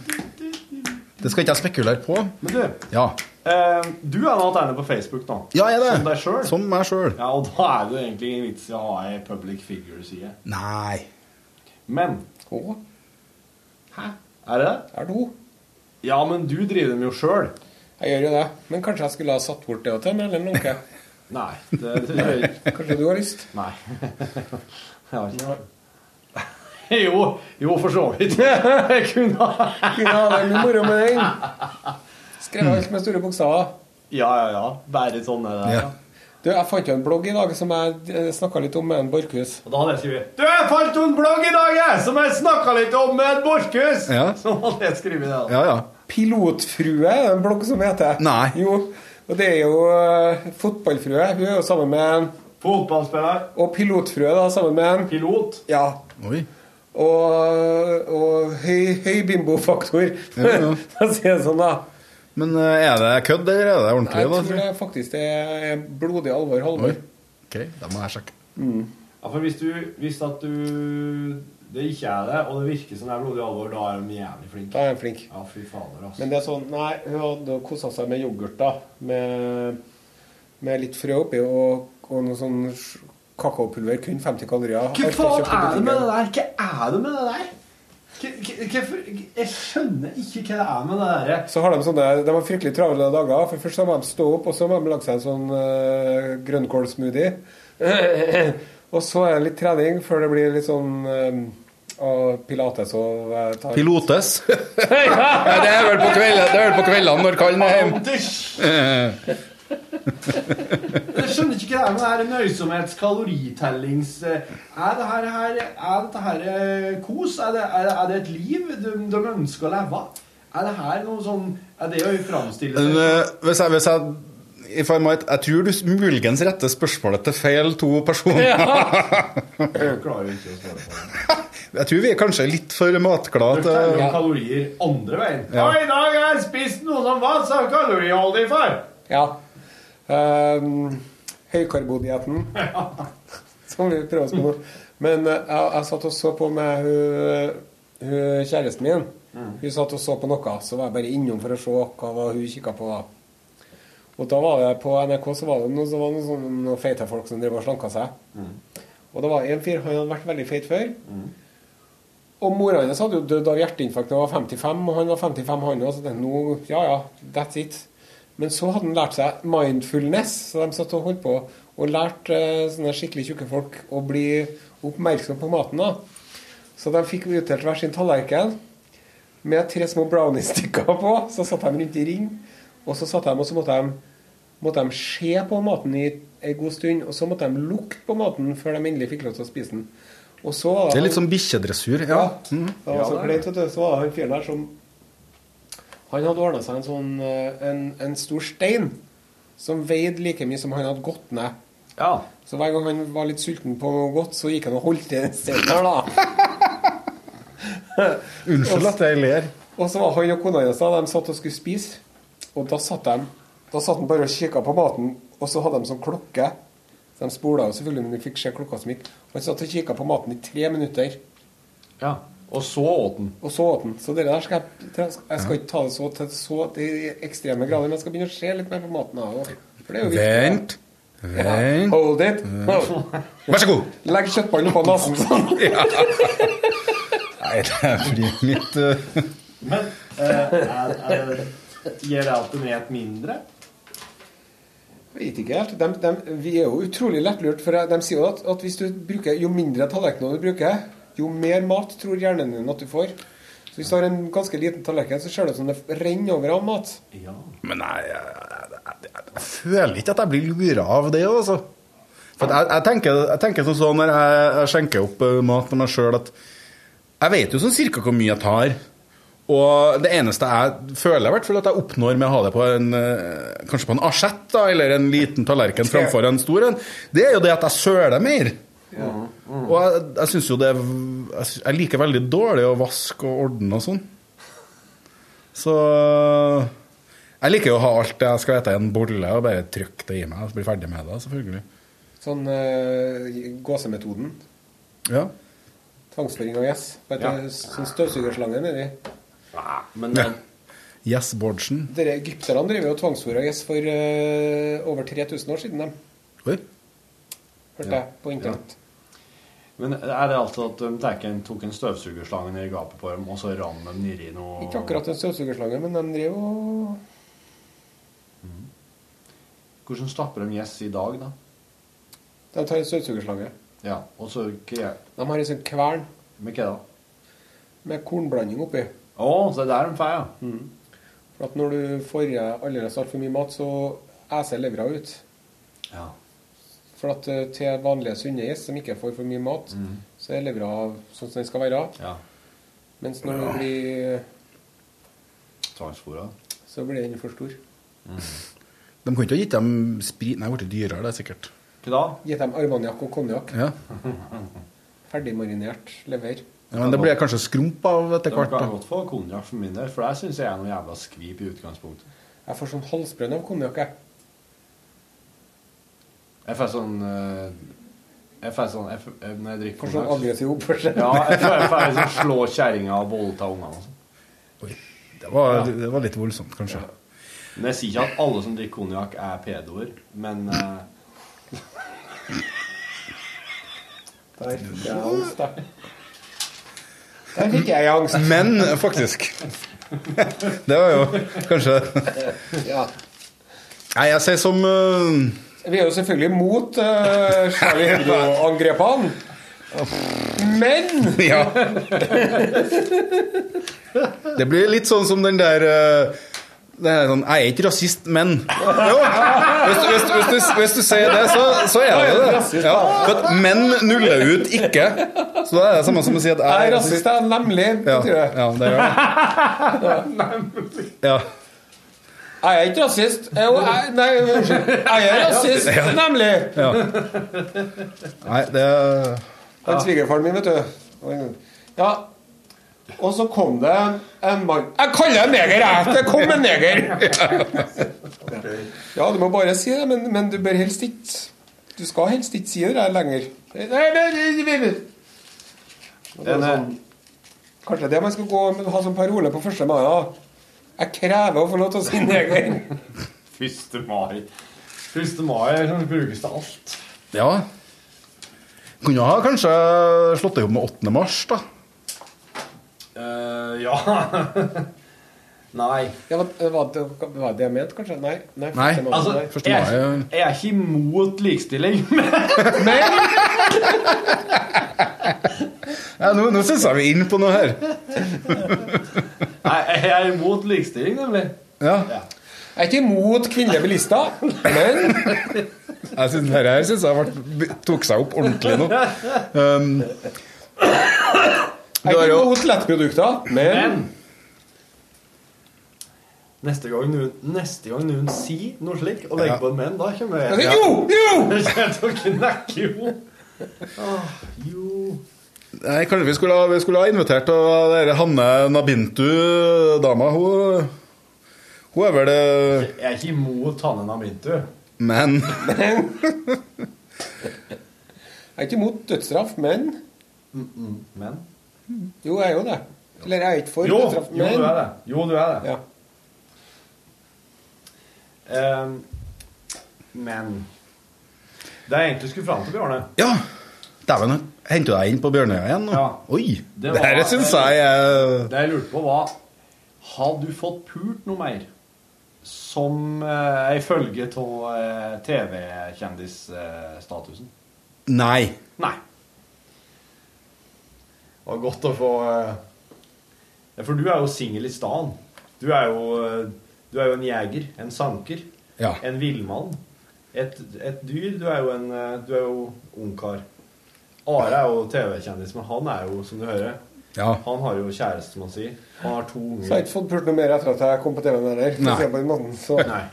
[SPEAKER 7] Det skal ikke jeg spekulere på.
[SPEAKER 8] Men du,
[SPEAKER 7] Ja.
[SPEAKER 8] eh, du er nå Erlend på Facebook nå.
[SPEAKER 7] Ja, er det.
[SPEAKER 8] Som deg selv?
[SPEAKER 7] Som meg sjøl.
[SPEAKER 8] Ja, og da er det jo egentlig ingen vits i å ha ei public figure-side.
[SPEAKER 7] Nei.
[SPEAKER 8] Men
[SPEAKER 1] Å,
[SPEAKER 8] Hæ? Er det det?
[SPEAKER 1] er det hun?
[SPEAKER 8] Ja, men du driver dem jo sjøl.
[SPEAKER 1] Jeg gjør jo det. Men kanskje jeg skulle ha satt bort det og til, eller
[SPEAKER 7] [LAUGHS]
[SPEAKER 1] noe.
[SPEAKER 8] Nei. Det, det,
[SPEAKER 1] [LAUGHS]
[SPEAKER 8] det,
[SPEAKER 1] Kanskje du har lyst?
[SPEAKER 8] nei. [LAUGHS] Jeg har ikke [LAUGHS] Jo, jo, for så vidt. [LAUGHS] Jeg kunne ha
[SPEAKER 1] Kunne ha det mye moro med den. Skrevet alt med store bokstaver.
[SPEAKER 8] Ja, ja, ja. Bare sånn er det.
[SPEAKER 7] Ja.
[SPEAKER 8] Ja.
[SPEAKER 1] Du, jeg fant jo en blogg i dag som jeg snakka litt om med en Borchhus.
[SPEAKER 8] Og da hadde jeg skrevet Du, jeg fant jo en blogg i dag, jeg, som jeg snakka litt om med et borkus!
[SPEAKER 7] Ja.
[SPEAKER 8] Så hadde jeg skrevet det. da.
[SPEAKER 7] Ja, ja.
[SPEAKER 1] Pilotfrue er det en blogg som heter.
[SPEAKER 7] Nei.
[SPEAKER 1] Jo. Og det er jo eh, Fotballfrue. Hun er jo sammen med en
[SPEAKER 8] Fotballspiller,
[SPEAKER 1] Og pilotfrue, da, sammen med en
[SPEAKER 8] pilot
[SPEAKER 1] Ja.
[SPEAKER 7] Oi.
[SPEAKER 1] Og, og høy, høy bimbofaktor.
[SPEAKER 7] Ja, ja.
[SPEAKER 1] For å si det sånn, [LAUGHS] da.
[SPEAKER 7] Men eh, er det kødd, eller er det ordentlig?
[SPEAKER 1] Jeg
[SPEAKER 7] da,
[SPEAKER 1] tror det faktisk det er blodig alvor, Halvor.
[SPEAKER 7] Oi. Ok, da må jeg sjekke.
[SPEAKER 8] Ja, for hvis du Hvis at du Det ikke er det, og det virker som det er blodig alvor, da er de jævlig flinke.
[SPEAKER 1] Da er han flink.
[SPEAKER 8] Ja, fy fader, altså.
[SPEAKER 1] Men det er sånn Nei, hun hadde kosa seg med yoghurt, da. Med, med litt frø oppi og, og noe sånn sj- kakaopulver. Kun 50 kalorier.
[SPEAKER 8] Hva
[SPEAKER 1] Alt
[SPEAKER 8] faen
[SPEAKER 1] kjøpt i
[SPEAKER 8] er det
[SPEAKER 1] butikken.
[SPEAKER 8] med det der? Hva er det med det der? Hva- hva- hvorfor- Jeg skjønner ikke hva det er med det derre
[SPEAKER 1] Så har de sånne De har fryktelig travle dager. For først så må de stå opp, og så må de lage seg en sånn uh, grønnkålsmoothie. og så er det litt trening før det blir litt sånn eh, og pilates og eh, tar-
[SPEAKER 7] Pilotes. Nei, det er vel på kveldene, det er vel på kveldene når kallen er hjemme. [LAUGHS] Eh,
[SPEAKER 8] Jeg skjønner ikke hva det er med det her nøysomhets, kaloritellings Er det her, her Er dette her eh, kos? Er det, er det, er det et liv de, de ønsker å leve? Er det her noe sånn Er det å framstille
[SPEAKER 7] men,
[SPEAKER 8] seg
[SPEAKER 7] eh, Hvis jeg, hvis jeg if I might, jeg tror du s- muligens retter spørsmålet til feil to personer. eh,
[SPEAKER 8] Jeg klarer jo ikke å svare på det.
[SPEAKER 7] [LAUGHS] Jeg tror vi er kanskje litt for matglade.
[SPEAKER 8] Du teller
[SPEAKER 7] til-
[SPEAKER 8] jo kalorier andre veien.
[SPEAKER 7] Ja.
[SPEAKER 8] Og i dag har jeg spist noe som var så kaloriholdig for!
[SPEAKER 1] Ja. Um, Høykarbodietten. Som vi prøver oss på nå. Men eh, jeg, jeg satt og så på med hun, hun kjæresten min. Hun satt og så på noe, så var jeg bare innom for å se hva var hun kikka på. da. Og da var det på NRK så var det noen, så var det noen, sånne- noen feite folk som drev og slanka seg. Og det var en fyr, han hadde vært veldig feit før. Og mora hans hadde jo dødd av hjerteinfarkt da han var 55, og han var 55 han òg, så tenkte jeg, nå, ja ja, that's it. Men så hadde han lært seg mindfulness, så de satt og holdt på og lærte eh, sånne skikkelig tjukke folk å bli oppmerksom på maten. da. Så de fikk utdelt hver sin tallerken med tre små brownie-stykker på. Så satt de rundt i ring, og så satt de, og så måtte de, måtte de se på maten i en god stund, og så måtte de lukte på maten før de endelig fikk lov til å spise den. Og så var
[SPEAKER 7] Det er litt
[SPEAKER 1] han-
[SPEAKER 7] som bikkjedressur. Ja.
[SPEAKER 1] ja. Det var så kleint, vet du. Så var det han fyren der som Han hadde ordna seg en sånn eh, en, en stor stein som veide like mye som han hadde gått ned.
[SPEAKER 9] Ja.
[SPEAKER 1] Så hver gang han var litt sulten på noe godt, så gikk han og holdt i den steinen der, da.
[SPEAKER 7] Unnskyld at jeg ler.
[SPEAKER 1] [LAUGHS] Og så var han og kona hans da, de satt og skulle spise. Og da satt de Da satt han bare og kikka på maten, og så hadde de sånn klokke. Så de spola jo selvfølgelig, men de fikk se klokka som gikk. Og han satt og kikka på maten i tre minutter.
[SPEAKER 9] ja. Og så åt den.
[SPEAKER 1] Og så åt den. Så det der skal jeg, jeg skal ikke ta det så til så til ekstreme grader, men jeg skal begynne å se litt mer på maten. her også. For det er jo viktig.
[SPEAKER 7] Vent.
[SPEAKER 1] Ja.
[SPEAKER 7] Vent.
[SPEAKER 1] Hold it. Hold.
[SPEAKER 7] Vær så god.
[SPEAKER 1] Legg kjøttballen oppå nesen sånn.
[SPEAKER 7] Nei, det er fordi mitt eh,
[SPEAKER 8] Men eh, er, er, gir det at den et mindre?
[SPEAKER 1] Jeg vet ikke helt. Dem- dem- vi er jo utrolig lettlurt, for de sier jo at, at hvis du bruker, jo mindre tallerkener du bruker, jo mer mat tror hjernen din at du får. Så hvis du har en ganske liten tallerken, så ser det ut som det renner over av mat.
[SPEAKER 8] Ja.
[SPEAKER 7] Men nei, jeg, jeg, jeg, jeg føler ikke at jeg blir lura av det, altså. For at jeg, jeg, tenker, jeg tenker sånn sånn når jeg, jeg skjenker opp eh, mat til meg sjøl, at jeg vet jo sånn cirka hvor mye jeg tar. Og det eneste jeg føler, i hvert fall, at jeg oppnår med å ha det på en eh, kanskje på en asjett da, eller en liten tallerken framfor en stor en, det er jo det at jeg søler mer. Og jeg, jeg syns jo det er v- jeg, sy- jeg liker veldig dårlig å vaske og ordne og sånn. Så Jeg liker jo å ha alt det jeg skal ete i en bolle, og bare trykke det i meg og bli ferdig med det, selvfølgelig.
[SPEAKER 1] Sånn eh, gåsemetoden.
[SPEAKER 7] Ja.
[SPEAKER 1] Tvangsføring av gjess. Vet du,
[SPEAKER 9] Ja.
[SPEAKER 1] Sånn støvsugerslange nedi.
[SPEAKER 9] Men
[SPEAKER 7] Ja.
[SPEAKER 9] eh,
[SPEAKER 7] Yes, Bårdsen.
[SPEAKER 1] Dere Egypterne driver jo tvangsfôra gjess for eh, over 3000 år siden, dem,
[SPEAKER 7] Oi.
[SPEAKER 1] hørte jeg på internett.
[SPEAKER 9] Men er det altså at de tar en- tok en støvsugerslange ned i gapet på dem, og så ran dem nedi noe
[SPEAKER 1] Ikke akkurat en støvsugerslange, men de driver og
[SPEAKER 9] Hvordan stapper de gjess i dag, da?
[SPEAKER 1] De tar en støvsugerslange.
[SPEAKER 9] Ja, og så kre...
[SPEAKER 1] De har en sånn kvern
[SPEAKER 9] Med hva da?
[SPEAKER 1] med kornblanding oppi.
[SPEAKER 9] Å, så det er der de får, ja.
[SPEAKER 1] For at når du får i deg allerede altfor mye mat, så æser levra ut.
[SPEAKER 9] ja.
[SPEAKER 1] For at eh, til vanlige sunne gjess som ikke får for mye mat, så er levra sånn som den skal være.
[SPEAKER 9] ja.
[SPEAKER 1] Mens når du blir
[SPEAKER 9] Tvangsfôra.
[SPEAKER 1] Så blir den for stor.
[SPEAKER 7] De kunne ikke ha gitt dem sprit Nei, det ble dyrere, det er sikkert.
[SPEAKER 9] Hva da?
[SPEAKER 1] Gitt dem armaniakk og konjakk.
[SPEAKER 7] Ja.
[SPEAKER 1] Ferdigmarinert lever.
[SPEAKER 7] Ja, men det blir kanskje skrump av etter
[SPEAKER 9] De
[SPEAKER 7] hvert.
[SPEAKER 9] kan
[SPEAKER 7] da.
[SPEAKER 9] godt få konjakk for min del, for der syns jeg er noe jævla skvip i utgangspunktet.
[SPEAKER 1] Jeg får sånn halsbrann av konjakk, jeg.
[SPEAKER 9] Jeg får sånn eh, Jeg får sånn jeg, får- eh, Når jeg drikker
[SPEAKER 1] For sånn
[SPEAKER 9] konjakk
[SPEAKER 1] aggressiv oppførsel.
[SPEAKER 9] Ja, jeg får, jeg får liksom slå kjerringa og voldta ungene. og sånn.
[SPEAKER 7] Det var, det var litt voldsomt, kanskje.
[SPEAKER 9] Men jeg sier ikke at alle som drikker konjakk, er pedoer, men eh,
[SPEAKER 1] Der fikk jeg angst, da. Der fikk jeg angst.
[SPEAKER 7] Men faktisk Det var jo kanskje
[SPEAKER 1] Ja.
[SPEAKER 7] Nei, jeg sier som øh,
[SPEAKER 1] Vi er jo selvfølgelig mot uh, Charlie Hebdo-angrepene. Men [LAUGHS]
[SPEAKER 7] Ja. Det blir litt sånn som den der eh, det er sånn, Jeg er ikke rasist, men Jo! Hvis, du- hvis, du- hvis, du- hvis du sier det, så, så er det det. Ja, for at menn nuller ut ikke. Så da er det samme som å si at
[SPEAKER 1] jeg
[SPEAKER 7] jeg
[SPEAKER 1] er rasist, jeg. Nemlig.
[SPEAKER 7] Ja,
[SPEAKER 1] betyr det.
[SPEAKER 7] ja, det gjør det. Ja.
[SPEAKER 1] Jeg er ikke rasist. Jo, jeg, nei, unnskyld. Jeg er rasist, nemlig.
[SPEAKER 7] Nei, det
[SPEAKER 1] Han svigerfaren min, vet du. Ja. Og så kom det en mann Jeg kaller deg neger, jeg! Det kom en neger! Ja, du må bare si det, men, men du bør helst ikke Du skal helst ikke si det der lenger. Nei, nei, nei, nei, nei. Og det er
[SPEAKER 9] eh,
[SPEAKER 1] sånn, kanskje det man skal gå og ha som parole på første mai. da. Jeg krever å få lov til å si neger.
[SPEAKER 8] 1. mai. 1. mai kan brukes til alt.
[SPEAKER 7] Ja. Kunne ha kanskje slått det opp med 8. mars, da.
[SPEAKER 8] Eh, ja [LAUGHS] Nei.
[SPEAKER 1] Ja, men, eh, var det var det det jeg mente, kanskje? Nei. Nei.
[SPEAKER 7] Nei,
[SPEAKER 1] første måned,
[SPEAKER 8] Altså,
[SPEAKER 1] nei.
[SPEAKER 7] Første
[SPEAKER 8] jeg,
[SPEAKER 7] mai, ja.
[SPEAKER 8] jeg er ikke imot likestilling, [LAUGHS] men
[SPEAKER 7] Ja, nå nå syns jeg vi er inne på noe her.
[SPEAKER 8] Nei, jeg er imot likestilling, nemlig.
[SPEAKER 7] Ja.
[SPEAKER 1] Jeg er ikke imot kvinnelige bilister, men
[SPEAKER 7] Jeg synes, dette her syns jeg ble, tok seg opp ordentlig nå. Um, du
[SPEAKER 1] jeg er
[SPEAKER 7] har
[SPEAKER 1] ikke
[SPEAKER 7] jo
[SPEAKER 1] imot lettprodukter. Men
[SPEAKER 8] Men Neste gang noen, neste gang noen sier noe slikt og legger
[SPEAKER 7] Ja.
[SPEAKER 8] på en menn, da kommer jeg.
[SPEAKER 1] Altså, Jo! Jo!
[SPEAKER 8] [LAUGHS] Jeg kommer til å knekke jo. Åh, jo.
[SPEAKER 7] Nei, kanskje vi skulle ha, vi skulle ha invitert av dere Hanne Nabintu-dama. Hun, hun er vel det
[SPEAKER 8] Jeg er ikke imot Hanne Namintu.
[SPEAKER 7] Men
[SPEAKER 1] Jeg er ikke imot dødsstraff, men
[SPEAKER 8] Mm, Men
[SPEAKER 1] Jo, jeg er jo det. Eller jeg er ikke for
[SPEAKER 8] jo, jo,
[SPEAKER 1] dødsstraff,
[SPEAKER 8] du
[SPEAKER 1] men
[SPEAKER 8] er det. Jo, du er det.
[SPEAKER 1] Ja.
[SPEAKER 8] Ehm, men Det jeg egentlig skulle fram til, Bjarne
[SPEAKER 7] Ja! Dæven, henter du deg inn på Bjørnøya igjen nå?
[SPEAKER 8] Ja.
[SPEAKER 7] Oi!
[SPEAKER 8] Det
[SPEAKER 7] Det,
[SPEAKER 8] var-
[SPEAKER 7] her syns jeg er
[SPEAKER 8] Det jeg lurte på, var Har du fått pult noe mer? Som eh, ei følge av eh, TV-kjendisstatusen?
[SPEAKER 7] Nei.
[SPEAKER 8] Nei. Det var godt å få eh, ja, For du er jo singel i staden. Du er jo eh, Du er jo en jeger. En sanker.
[SPEAKER 7] Ja.
[SPEAKER 8] En villmann. Et, et dyr. Du er jo en eh, Du er jo ungkar. Are er jo TV-kjendis, men han er jo, som du hører
[SPEAKER 7] Ja.
[SPEAKER 8] Han har jo kjæreste, som han sier. Han har
[SPEAKER 1] Så
[SPEAKER 8] to
[SPEAKER 1] jeg har
[SPEAKER 8] unger.
[SPEAKER 1] ikke fått pult noe mer etter at jeg kom på TV-en heller. for å
[SPEAKER 7] Nei.
[SPEAKER 1] si det på den måten, så.
[SPEAKER 8] Nei.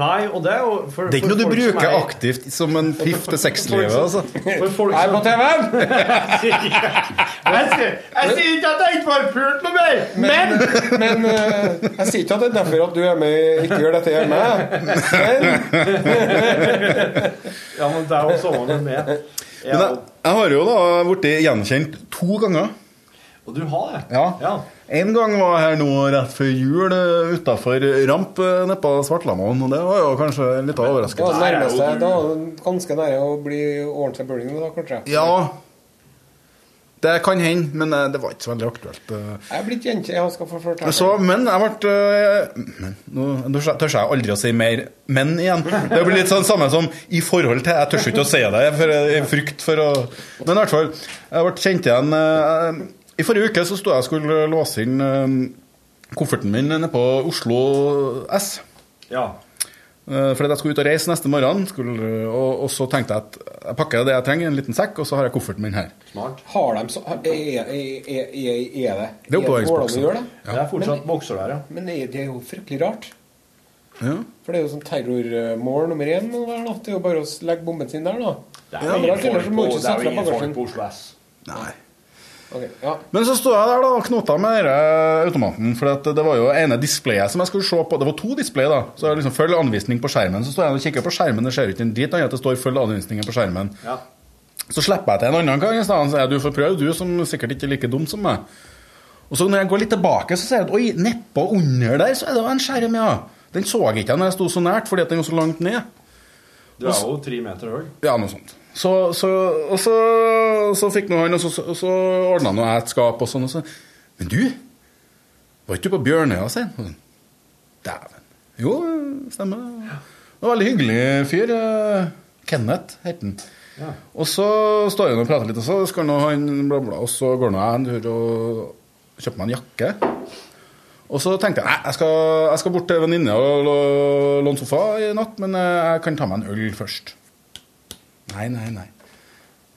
[SPEAKER 8] Nei, og det er jo for,
[SPEAKER 7] Det er ikke
[SPEAKER 8] for
[SPEAKER 7] noe du
[SPEAKER 8] folk som
[SPEAKER 7] bruker
[SPEAKER 8] er-
[SPEAKER 7] aktivt som en piff til sexlivet, altså.
[SPEAKER 8] For folk
[SPEAKER 1] Jeg er på
[SPEAKER 8] som
[SPEAKER 1] TV-en!
[SPEAKER 8] [LAUGHS] Jeg sier jeg sier ikke at jeg ikke har pult noe mer, men
[SPEAKER 1] Men eh, jeg sier ikke at det er derfor at du er med ikke gjør dette hjemme. Men
[SPEAKER 8] Ja, men det er jo sommeren med. Ja,
[SPEAKER 7] Men jeg, jeg har jo da blitt gjenkjent to ganger.
[SPEAKER 8] og du har det?
[SPEAKER 7] Ja.
[SPEAKER 8] ja.
[SPEAKER 7] En gang var jeg her nå rett før jul eh, utafor Ramp eh, nede på Svartlamoen, og det var jo kanskje litt av
[SPEAKER 1] det var
[SPEAKER 7] overraskelse.
[SPEAKER 8] Der er jo
[SPEAKER 1] nærmeste,
[SPEAKER 8] du-
[SPEAKER 1] da var det ganske nære å bli ordentlig burning, da, kanskje.
[SPEAKER 7] Ja, det kan hende, men eh, det var ikke så veldig aktuelt. eh.
[SPEAKER 1] Jeg er blitt jente, jeg skal få fortelle.
[SPEAKER 7] Så, men jeg ble eh, men, Nå nå tør jeg aldri å si mer 'men' igjen. Det blir litt sånn samme som 'i forhold til'. Jeg tør ikke å si det for jeg er frykt for å Men i hvert fall, jeg ble kjent igjen eh, I forrige uke så sto jeg og skulle låse inn eh, kofferten min nede på Oslo S.
[SPEAKER 8] ja.
[SPEAKER 7] Eh, Fordi at jeg skulle ut og reise neste morgen, skulle, og, og så tenkte jeg at jeg pakker det jeg trenger i en liten sekk, og så har jeg kofferten min her.
[SPEAKER 8] Smart.
[SPEAKER 1] Har de så Er, er, er, er, er det
[SPEAKER 7] Det er
[SPEAKER 1] Hvordan
[SPEAKER 7] oppbevaringsboksen.
[SPEAKER 1] gjør det?
[SPEAKER 8] Det er fortsatt bokser der, ja.
[SPEAKER 1] Men det er, det er jo fryktelig rart.
[SPEAKER 7] Ja.
[SPEAKER 1] For det er jo sånn terrormål nummer én. og det er da. Det er jo bare å legge bomben sin der, da. Ja,
[SPEAKER 8] Det er
[SPEAKER 1] men
[SPEAKER 8] jo
[SPEAKER 1] det er
[SPEAKER 8] ingen
[SPEAKER 1] ingen
[SPEAKER 8] folk
[SPEAKER 1] som
[SPEAKER 8] på, det er jo
[SPEAKER 1] utsatt
[SPEAKER 8] ingen
[SPEAKER 1] for
[SPEAKER 8] folk
[SPEAKER 1] bagasjen.
[SPEAKER 8] på Oslo S.
[SPEAKER 7] Nei.
[SPEAKER 1] Ok, ja.
[SPEAKER 7] Men så sto jeg der da og knota med denne automaten, for at det var jo ene displayet som jeg skulle se på. Det var to display, da. Så jeg liksom følg anvisning på skjermen. Så står jeg og kikker på skjermen, det ser ikke en drit annet at det står 'følg anvisningen på skjermen'.
[SPEAKER 8] Ja.
[SPEAKER 7] Så slipper jeg til en annen gang i stedet. Så er du får prøve, du som sikkert ikke er like dum som meg. Og så når jeg går litt tilbake, så ser jeg at oi, nedpå under der så er det jo en skjerm, ja. Den så jeg ikke når jeg sto så nært, fordi at den var så langt ned.
[SPEAKER 8] Du er jo tre meter høy.
[SPEAKER 7] Ja, noe sånt. Så, så, og så, så fikk nå han, og så, så, så ordna nå jeg et skap og sånn. Og så, men du, var ikke du på Bjørnøya, sier han. Og sånn, Dæven. Jo, stemmer det. Det var en veldig hyggelig fyr. eh, Kenneth het han.
[SPEAKER 8] Ja.
[SPEAKER 7] Og så står han og prater litt, og så skal nå han bla, bla, og så går nå jeg en tur og kjøper meg en jakke. Og så tenkte jeg nei, jeg skal, jeg skal bort til venninne og lå- låne sofa i natt, men eh, jeg kan ta meg en øl først. Nei, nei, nei.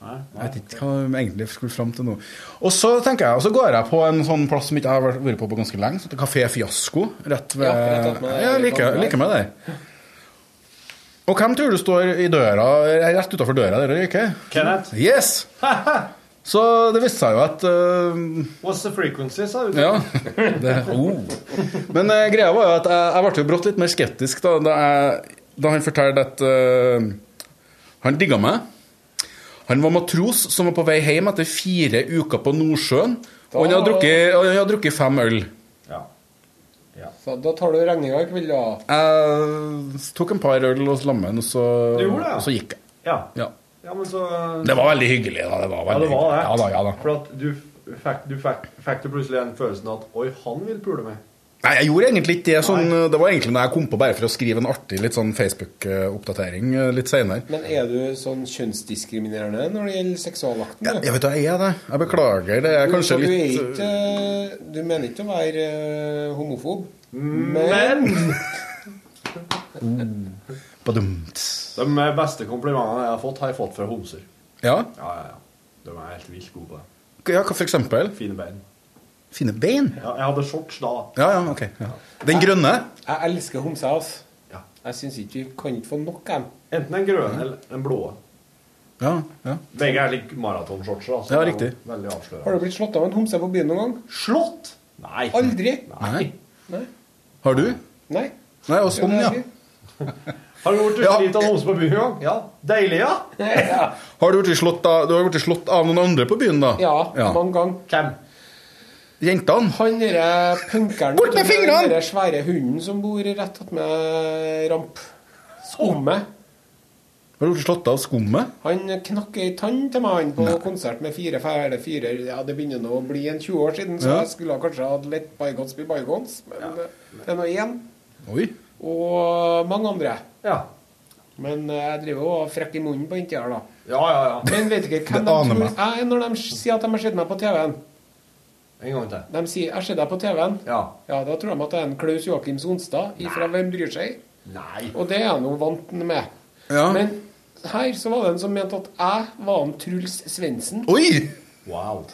[SPEAKER 8] Nei,
[SPEAKER 7] Jeg vet ikke hva jeg egentlig skulle fram til nå. Og så tenker jeg, og så går jeg på en sånn plass som ikke jeg har vært- vært på på ganske lenge. sånn Kafé Fiasko. Rett ved
[SPEAKER 1] Ja, rett opp med-
[SPEAKER 7] Ja, jeg liker, liker meg der. Og hvem tror du står i døra, rett utafor døra der og røyker?
[SPEAKER 8] Kenneth,
[SPEAKER 7] Yes! [LAUGHS] Så det viste seg jo at øh,
[SPEAKER 8] what's the frequency, sa du? [LAUGHS]
[SPEAKER 7] Ja. Det, oh. Men eh, greia var jo at jeg, jeg ble jo brått litt mer skeptisk da, da, jeg, da han fortalte at eh, han digga meg. Han var matros som var på vei hjem etter fire uker på Nordsjøen. Og han hadde drukket, og han hadde drukket fem øl.
[SPEAKER 8] Ja.
[SPEAKER 1] Så da tar du regninga i kveld, da.
[SPEAKER 7] Jeg tok en par øl hos Lammen, og så,
[SPEAKER 8] Du gjorde det?
[SPEAKER 7] og så gikk jeg.
[SPEAKER 8] Ja.
[SPEAKER 7] Ja.
[SPEAKER 8] ja, men så
[SPEAKER 7] Det var veldig hyggelig, da. Det var
[SPEAKER 8] Ja,
[SPEAKER 7] veldig
[SPEAKER 8] det var det.
[SPEAKER 7] hyggelig. Ja da, ja da.
[SPEAKER 8] For at du f- fikk, du fikk, fikk du plutselig den følelsen at Oi, han vil pule meg.
[SPEAKER 7] Nei, jeg gjorde egentlig ikke det. Sånn, det var egentlig når jeg kom på bare for å skrive en artig litt sånn Facebook-oppdatering eh, litt seinere.
[SPEAKER 1] Men er du sånn kjønnsdiskriminerende når det gjelder seksualakten?
[SPEAKER 7] Jeg, jeg vet da, jeg er det. Jeg beklager. Det er kanskje
[SPEAKER 1] du,
[SPEAKER 7] litt
[SPEAKER 1] er ikke, du mener ikke å være eh, homofob, men
[SPEAKER 8] Men
[SPEAKER 7] Badumt.
[SPEAKER 8] de beste komplimentene jeg har fått, har jeg fått fra homser.
[SPEAKER 7] Ja.
[SPEAKER 8] Ja, ja, ja. De er helt vilt gode på det.
[SPEAKER 7] ja, hva for eksempel?
[SPEAKER 8] Fine bein.
[SPEAKER 7] Fine bein.
[SPEAKER 8] Ja, jeg hadde shorts da.
[SPEAKER 7] Ja, ja, ok. Ja. Den grønne?
[SPEAKER 1] jeg elsker homser. Altså.
[SPEAKER 8] Ja.
[SPEAKER 1] Jeg syns ikke vi kan ikke få nok av dem.
[SPEAKER 8] Enten den grønne eller den blå.
[SPEAKER 7] Ja, ja.
[SPEAKER 8] Begge er like maratonshortser. Altså. Det
[SPEAKER 7] Ja,
[SPEAKER 8] er jo
[SPEAKER 7] riktig.
[SPEAKER 8] Veldig
[SPEAKER 1] Har
[SPEAKER 8] avslørende.
[SPEAKER 1] du blitt slått av en homse på byen noen gang?
[SPEAKER 8] Slått? Nei.
[SPEAKER 1] Aldri?
[SPEAKER 8] Nei.
[SPEAKER 1] Nei.
[SPEAKER 7] Har du?
[SPEAKER 1] Nei.
[SPEAKER 7] Nei, og sånn, ja.
[SPEAKER 8] Har du blitt
[SPEAKER 7] Ja.
[SPEAKER 8] slitt av homse på byen en gang? Ja. Deilig, ja.
[SPEAKER 1] ja. [LAUGHS]
[SPEAKER 7] Har du blitt slått av, du har blitt slått av noen andre på byen, da?
[SPEAKER 1] ja, mange ganger.
[SPEAKER 8] Hvem?
[SPEAKER 7] Jentene?
[SPEAKER 1] Han derre punkeren
[SPEAKER 7] Bort med
[SPEAKER 1] vet du,
[SPEAKER 7] fingrene!
[SPEAKER 1] Den derre svære hunden som bor rett attmed ramp. Skummet.
[SPEAKER 7] Har du blitt slått av skummet?
[SPEAKER 1] Han knakk ei tann til meg han på konsert med fire fæle fyrer. Ja, det begynner nå å bli en 20 år siden, så
[SPEAKER 7] Ja.
[SPEAKER 1] jeg skulle ha kanskje hatt litt bygons bli bygons, men eh, det er nå én.
[SPEAKER 7] Oi.
[SPEAKER 1] Og mange andre.
[SPEAKER 8] Ja.
[SPEAKER 1] Men eh, jeg driver og er frekk i munnen på inntil her, da.
[SPEAKER 8] Ja, ja, ja.
[SPEAKER 1] Men vet ikke hvem
[SPEAKER 7] [LAUGHS] Det
[SPEAKER 1] de
[SPEAKER 7] aner
[SPEAKER 1] tror
[SPEAKER 7] meg.
[SPEAKER 1] jeg er når de sier at de har sett meg på TV-en.
[SPEAKER 8] En gang til.
[SPEAKER 1] De sier 'jeg ser deg på TV-en'.
[SPEAKER 8] Ja.
[SPEAKER 1] Ja, da tror de at det er en Klaus Joakim Sonstad ifra Hvem bryr seg?
[SPEAKER 8] Nei.
[SPEAKER 1] Og det er jeg nå vant med.
[SPEAKER 7] Ja.
[SPEAKER 1] Men her så var det en som mente at jeg var en Truls Svendsen.
[SPEAKER 7] Oi!
[SPEAKER 8] Wow.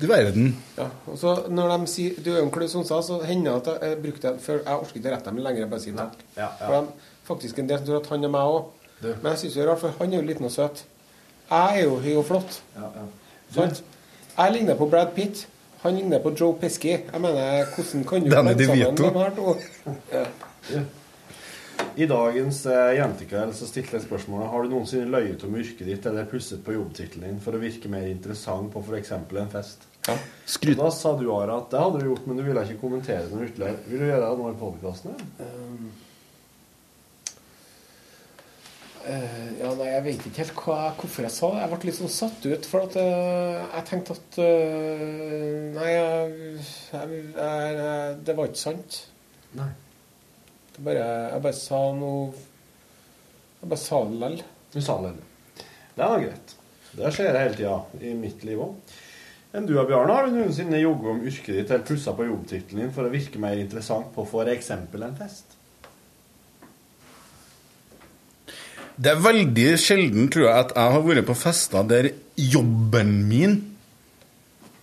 [SPEAKER 7] Du verden.
[SPEAKER 1] Ja, og så når de sier 'du er jo en Klaus Sonstad', så hender det at jeg eh, brukte det før Jeg orker ikke å rette dem lenger. Jeg bare sier takk.
[SPEAKER 8] Ja, ja.
[SPEAKER 1] For de, faktisk en del som tror at han er meg òg.
[SPEAKER 8] Du.
[SPEAKER 1] Men jeg syns det er rart, for han er jo liten og søt. Jeg er jo høy og flott.
[SPEAKER 8] Ja, ja.
[SPEAKER 1] Sant? Jeg ligner på Brad Pitt. Han ligner på Joe Pesci. Jeg mener, hvordan kan du
[SPEAKER 7] Danny
[SPEAKER 1] blande sammen
[SPEAKER 7] DeVito.
[SPEAKER 1] de her to?
[SPEAKER 8] I dagens eh, jentekveld så stilte jeg spørsmålet Har du noensinne løyet om yrket ditt eller plusset på jobbtittelen din for å virke mer interessant på f.eks. en fest? Og
[SPEAKER 7] Skryt.
[SPEAKER 8] Da sa du, Ara, at det hadde du gjort, men du ville ikke kommentere noe ytterligere. Vil du gjøre det nå i podkasten?
[SPEAKER 1] Eh, ja, nei, Jeg vet ikke helt hva, hvorfor jeg sa det. Jeg ble litt sånn satt ut. For at eh, jeg tenkte at eh, Nei, jeg, jeg, jeg, jeg, det var ikke sant.
[SPEAKER 8] Nei.
[SPEAKER 1] Det bare, jeg bare sa noe Jeg bare sa det likevel.
[SPEAKER 8] Du sa det. eller? Det er da greit. Det skjer hele tida i mitt liv òg. Enn du, Bjarne, har du noensinne jogget om yrket ditt eller plussa på jobbtittelen din for å virke mer interessant på f.eks. en fest?
[SPEAKER 7] Det er veldig sjelden, tror jeg, at jeg har vært på fester der jobben min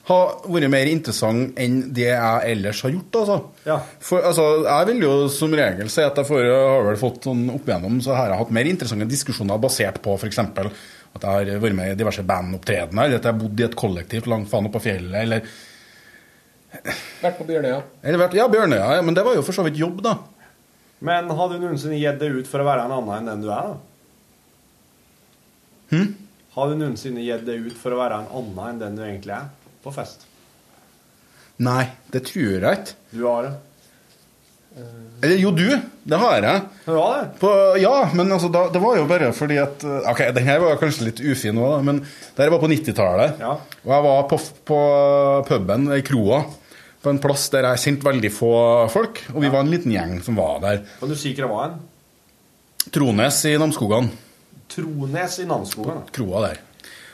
[SPEAKER 7] har vært mer interessant enn det jeg ellers har gjort, altså.
[SPEAKER 8] Ja.
[SPEAKER 7] For altså, jeg vil jo som regel si at jeg får, har vel fått sånn opp igjennom, så har jeg hatt mer interessante diskusjoner basert på f.eks. at jeg har vært med i diverse bandopptredener, eller at jeg har bodd i et kollektiv langt faen oppe på fjellet, eller,
[SPEAKER 1] Vært på Bjørnøya.
[SPEAKER 7] eller vært Ja, Bjørnøya, ja, men det var jo for så vidt jobb, da.
[SPEAKER 8] Men har du noensinne gitt deg ut for å være en annen enn den du er, da? Har du noensinne gitt deg ut for å være en annen enn den du egentlig er, på fest?
[SPEAKER 7] Nei, det tror jeg ikke.
[SPEAKER 8] Du har det.
[SPEAKER 7] Eller jo, du. Det har jeg.
[SPEAKER 8] Du har det?
[SPEAKER 7] På, ja, men altså, da, det var jo bare fordi at eh, Ok, den her var kanskje litt ufin òg, men det her var på 90-tallet.
[SPEAKER 8] Ja.
[SPEAKER 7] Og jeg var på, f- på puben, i kroa, på en plass der jeg kjente veldig få folk. Og vi var en liten gjeng som var der.
[SPEAKER 8] Kan du si hva det var en?
[SPEAKER 7] Trones i Namsskogan.
[SPEAKER 8] Trones i Namsskogen. da.
[SPEAKER 7] Kroa der.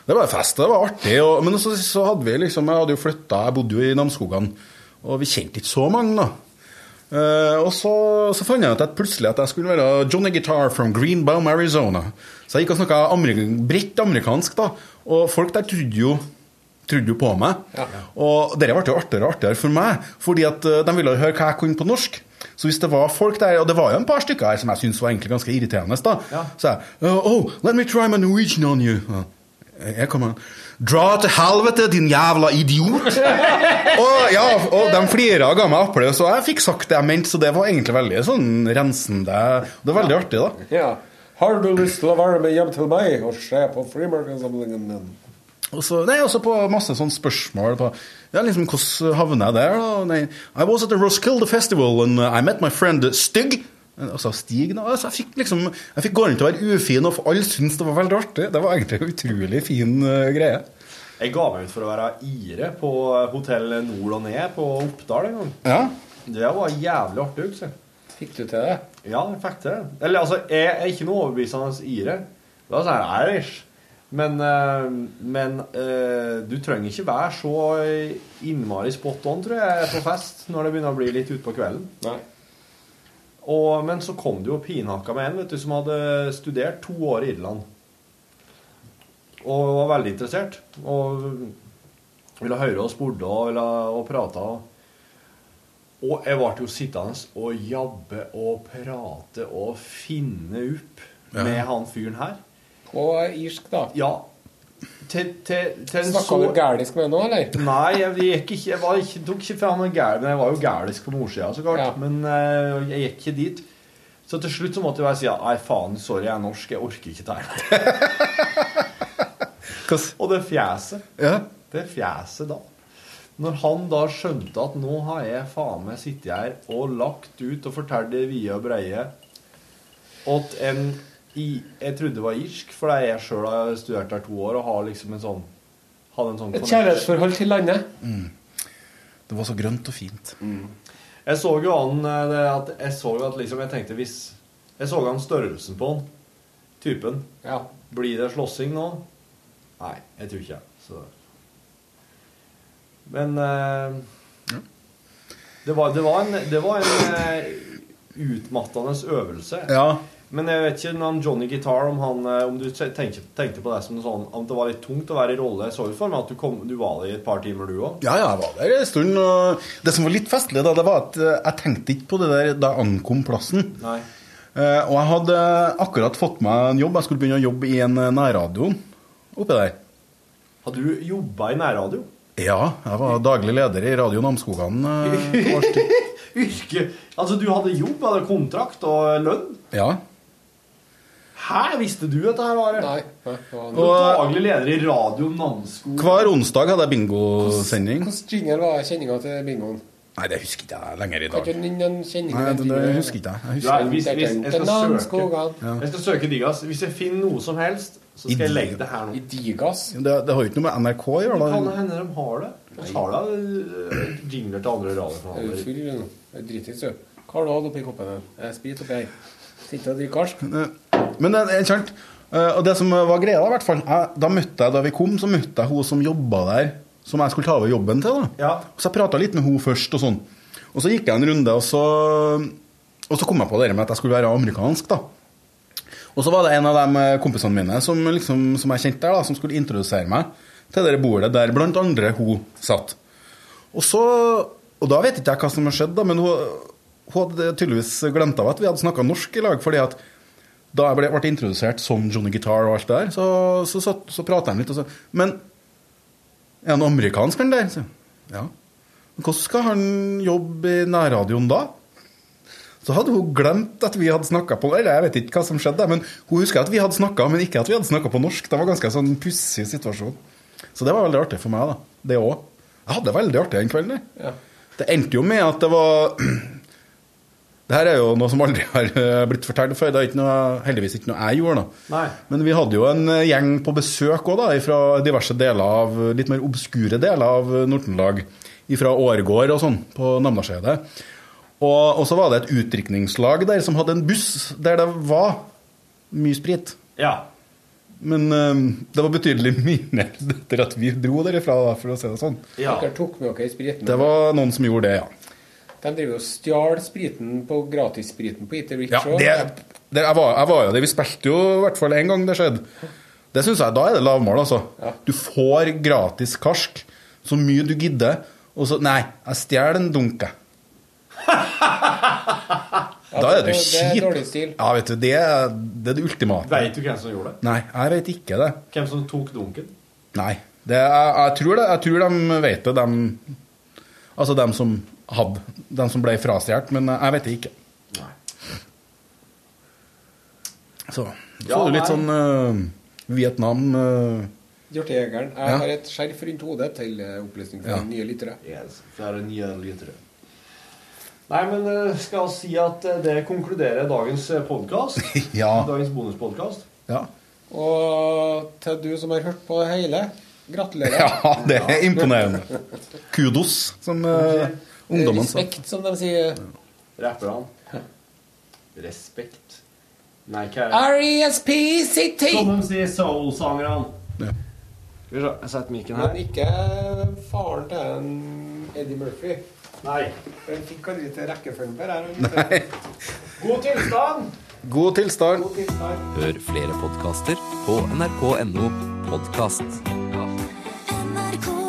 [SPEAKER 7] Det var fest, det var artig. Og, men så, så hadde vi liksom Jeg hadde jo flytta, jeg bodde jo i Namsskogan, og vi kjente ikke så mange, da. Eh, og så, så fant jeg ut at plutselig at jeg skulle være Johnny Guitar from Greenbaum, Arizona. Så jeg gikk og snakka amerik bredt amerikansk, da. Og folk der trodde jo, trodde jo på meg. Og dette ble jo artigere og artigere for meg, fordi at eh, de ville høre hva jeg kunne på norsk. Så hvis det var folk der, og det var jo en par stykker her som jeg syntes var egentlig ganske irriterende, da, så jeg «Oh, Oh, let me try my Norwegian on you. Ja. Jeg kommer Dra til helvete, din jævla idiot! og, ja, og de flira og ga meg applaus, og jeg fikk sagt det jeg mente, så det var egentlig veldig sånn rensende. Det var veldig artig, da.
[SPEAKER 1] Ja. Har du lyst til å være med hjem til meg og se på frimarkedssamlingen min?
[SPEAKER 7] Og så, nei, også på masse sånne sånn spørsmål på Ja, liksom, hvordan havna jeg der, da? Nei, I was at the Roskilde Festival and I met my friend Stig. Altså, Stig, da. Altså, jeg fikk liksom, jeg fikk gå rundt og være ufin, og alle syntes det var veldig artig. Det var egentlig en utrolig fin eh, greie.
[SPEAKER 8] Jeg ga meg ut for å være ire på Hotell Nord og Ned på Oppdal en gang.
[SPEAKER 7] Ja.
[SPEAKER 8] Det var jævlig artig, husker jeg.
[SPEAKER 10] Fikk du til det?
[SPEAKER 8] Ja, jeg fikk det. Eller altså, jeg er ikke noe overbevisende ire. Det var sånn Irish. Men, eh, men eh, du trenger ikke være så innmari spot on, tror jeg, på fest når det begynner å bli litt utpå kvelden.
[SPEAKER 9] Nei.
[SPEAKER 8] Og, men så kom det jo pinhakka med en vet du, som hadde studert to år i Irland. Og var veldig interessert. Og ville høre og spurte og, ville- og prata. Og jeg ble jo sittende og jabbe og prate og finne opp med han fyren her.
[SPEAKER 1] På irsk, da.
[SPEAKER 8] Ja. Til, til, til en
[SPEAKER 1] Snakka du
[SPEAKER 8] så-
[SPEAKER 1] gælisk med nå, eller?
[SPEAKER 8] Nei, jeg, gikk ikke, jeg, var ikke, tok ikke fram en gæl, men jeg var jo gælisk på morsida, så klart.
[SPEAKER 1] Ja.
[SPEAKER 8] Men eh, jeg gikk ikke dit. Så til slutt så måtte jeg bare si ja, nei, faen, sorry, jeg er norsk, jeg orker ikke dette her.
[SPEAKER 7] [LAUGHS] Hvordan-
[SPEAKER 8] Og det fjeset.
[SPEAKER 7] ja.
[SPEAKER 8] Det fjeset da. Når han da skjønte at nå har jeg faen meg sittet her og lagt ut og fortalt det vide og breie åt en i, Jeg trodde det var irsk, for jeg sjøl har studert der to år og har liksom en sånn hadde en sånn
[SPEAKER 1] Et
[SPEAKER 8] connection.
[SPEAKER 1] kjærlighetsforhold til landet.
[SPEAKER 7] Det var så grønt og fint.
[SPEAKER 8] Jeg så jo han eh, det at, Jeg så jo at liksom Jeg tenkte hvis Jeg så han størrelsen på han Typen
[SPEAKER 1] Ja.
[SPEAKER 8] Blir det slåssing nå? Nei, jeg tror ikke det. Så Men eh, det, var, det var en, det var en eh, utmattende øvelse
[SPEAKER 7] Ja.
[SPEAKER 8] men jeg vet ikke om Johnny Guitar Om, han, eh, om du te- tenkte, tenkte på det som en sånn Om det var litt tungt å være i rolle Jeg så jo for meg at du, kom, du var der i et par timer du også
[SPEAKER 7] Ja, ja, jeg var der en stund. Og det som var litt festlig, da, det var at eh, jeg tenkte ikke på det der da jeg ankom plassen.
[SPEAKER 8] Nei
[SPEAKER 7] Eh, og jeg hadde akkurat fått meg en jobb. Jeg skulle begynne å jobbe i en eh, nærradio oppe der.
[SPEAKER 8] Har du jobbet i nærradio?
[SPEAKER 7] Ja, jeg var daglig leder i Radio Namsskogan. eh, et års tid.
[SPEAKER 8] Yrke? Altså, du hadde jobb, hadde kontrakt og lønn?
[SPEAKER 7] Ja.
[SPEAKER 8] Hæ, visste du at det her var
[SPEAKER 1] Nei. nei, det var-
[SPEAKER 8] Du var daglig leder i Radio Namsko.
[SPEAKER 7] Hver onsdag hadde jeg bingosending.
[SPEAKER 1] Hvordan jingle var kjenninga til bingoen?
[SPEAKER 7] Nei, det husker ikke jeg lenger i
[SPEAKER 1] Kan
[SPEAKER 7] dag.
[SPEAKER 1] ikke du nynne en kjenning?
[SPEAKER 7] Nei, det, det husker ikke jeg. jeg
[SPEAKER 8] Ja,
[SPEAKER 7] husker.
[SPEAKER 8] hvis, hvis, jeg, skal søke,
[SPEAKER 1] Skogan.
[SPEAKER 8] jeg skal søke Digas. Hvis jeg finner noe som helst, så skal jeg legge det her nå.
[SPEAKER 1] eh, I Digas.
[SPEAKER 7] Det, det har jo ikke noe med NRK å gjøre.
[SPEAKER 8] Kan
[SPEAKER 7] da.
[SPEAKER 8] det hende de har det? De har da øh, jingler til andre
[SPEAKER 1] Er du
[SPEAKER 8] radiokanaler.
[SPEAKER 1] full? nå? Er du Dritings, du. Hva har du hatt oppi koppen din? Jeg er sprit oppi her. Sitter og drikker karsk.
[SPEAKER 7] Men det er sant. Eh, Og det som var greia, da, i hvert fall jeg, Da møtte jeg, da vi kom, så møtte jeg hun som jobba der, som jeg skulle ta over jobben til. da.
[SPEAKER 8] Ja.
[SPEAKER 7] Og Så jeg prata litt med hun først, og sånn. Og så gikk jeg en runde, og så, og så kom jeg på det der med at jeg skulle være amerikansk, da. Og så var det en av de kompisene mine som, liksom, som jeg kjente der, da, som skulle introdusere meg til det der bordet der blant andre hun satt. Og så Og da vet ikke jeg hva som har skjedd, da, men hun, hun hadde tydeligvis glemt av at vi hadde snakka norsk i lag. fordi at da jeg ble, ble introdusert som Johnny Guitar og alt det der, så, så, så, så prata jeg litt. Og så, men er han amerikansk, han der? Så, ja. Men hvordan skal han jobbe i nærradioen da? Så hadde hun glemt at vi hadde snakka på Eller jeg vet ikke hva som skjedde, men hun husker at vi hadde snakka, men ikke at vi hadde snakka på norsk. Det var ganske sånn pussig situasjon. Så det var veldig artig for meg, da. Det òg. Jeg hadde det veldig artig den kvelden. jeg. Det endte jo med at det var [CLEARS THROAT] Det her er jo noe som aldri har eh, blitt fortalt før. Det er ikke noe, heldigvis ikke noe jeg gjorde, da.
[SPEAKER 8] Nei.
[SPEAKER 7] Men vi hadde jo en eh, gjeng på besøk òg, da, fra diverse deler av Litt mer obskure deler av eh, Nord-Trøndelag. Fra Årgård og sånn, på Namdalseidet. Og, og så var det et utdrikningslag der som hadde en buss der det var mye sprit.
[SPEAKER 8] Ja.
[SPEAKER 7] Men eh, det var betydelig mindre [LAUGHS] etter at vi dro derifra, da, for å si det sånn.
[SPEAKER 8] ja.
[SPEAKER 1] Dere tok med dere spriten.
[SPEAKER 7] Det var noen som gjorde det, ja.
[SPEAKER 1] De driver jo og stjal spriten på gratisspriten på Eater Rich
[SPEAKER 7] ja
[SPEAKER 1] også.
[SPEAKER 7] det, det, jeg, var, jeg var jo det. Vi spilte jo i hvert fall én gang det skjedde. Det synes jeg, Da er det lavmål, altså. Du får gratis karsk så mye du gidder, og så Nei, jeg stjeler en dunk,
[SPEAKER 1] [LAUGHS]
[SPEAKER 7] jeg.
[SPEAKER 1] Ja,
[SPEAKER 7] Da er du
[SPEAKER 1] det-
[SPEAKER 7] kjip.
[SPEAKER 1] Det er dårlig stil.
[SPEAKER 7] Ja, vet du, det, er- det er det ultimate.
[SPEAKER 8] Vet du hvem som gjorde det?
[SPEAKER 7] Nei, jeg vet ikke det.
[SPEAKER 8] Hvem som tok dunken?
[SPEAKER 7] Nei. Det, jeg, jeg, tror det, jeg tror de vet det, de Altså de som hadde. De som ble frastjålet. Men jeg vet det ikke.
[SPEAKER 8] Nei.
[SPEAKER 7] Så får
[SPEAKER 8] Ja,
[SPEAKER 7] du
[SPEAKER 8] nei.
[SPEAKER 7] litt sånn eh, Vietnam eh,
[SPEAKER 1] Hjortejegeren. Jeg har et skjerf rundt hodet til eh, opplysning for
[SPEAKER 7] Ja.
[SPEAKER 1] nye lyttere.
[SPEAKER 8] Yes, for det er nye lyttere. Nei, men eh, skal jeg si at eh, det konkluderer dagens podkast.
[SPEAKER 7] [LAUGHS] Ja.
[SPEAKER 8] Dagens bonuspodkast.
[SPEAKER 7] ja.
[SPEAKER 1] Og til du som har hørt på det hele, gratulerer.
[SPEAKER 7] [LAUGHS] Ja, det er imponerende. Kudos, som eh, ungdommen sa.
[SPEAKER 1] Respekt, som de sier.
[SPEAKER 8] Rapperne. [LAUGHS] Respekt. Nei, hva er det?
[SPEAKER 1] E R.E.S.P.C.T.
[SPEAKER 8] Som de sier, soul-sangerne.
[SPEAKER 7] Ja.
[SPEAKER 8] Skal vi se, jeg setter mikken her.
[SPEAKER 1] Men ikke faren til en Eddie Murphy.
[SPEAKER 8] Nei.
[SPEAKER 1] Han fikk aldri til rekkefølgen på det her.
[SPEAKER 8] God tilstand!
[SPEAKER 7] God tilstand.
[SPEAKER 1] God tilstand.
[SPEAKER 3] Hør flere podkaster på nrk.no podkast.
[SPEAKER 11] NRK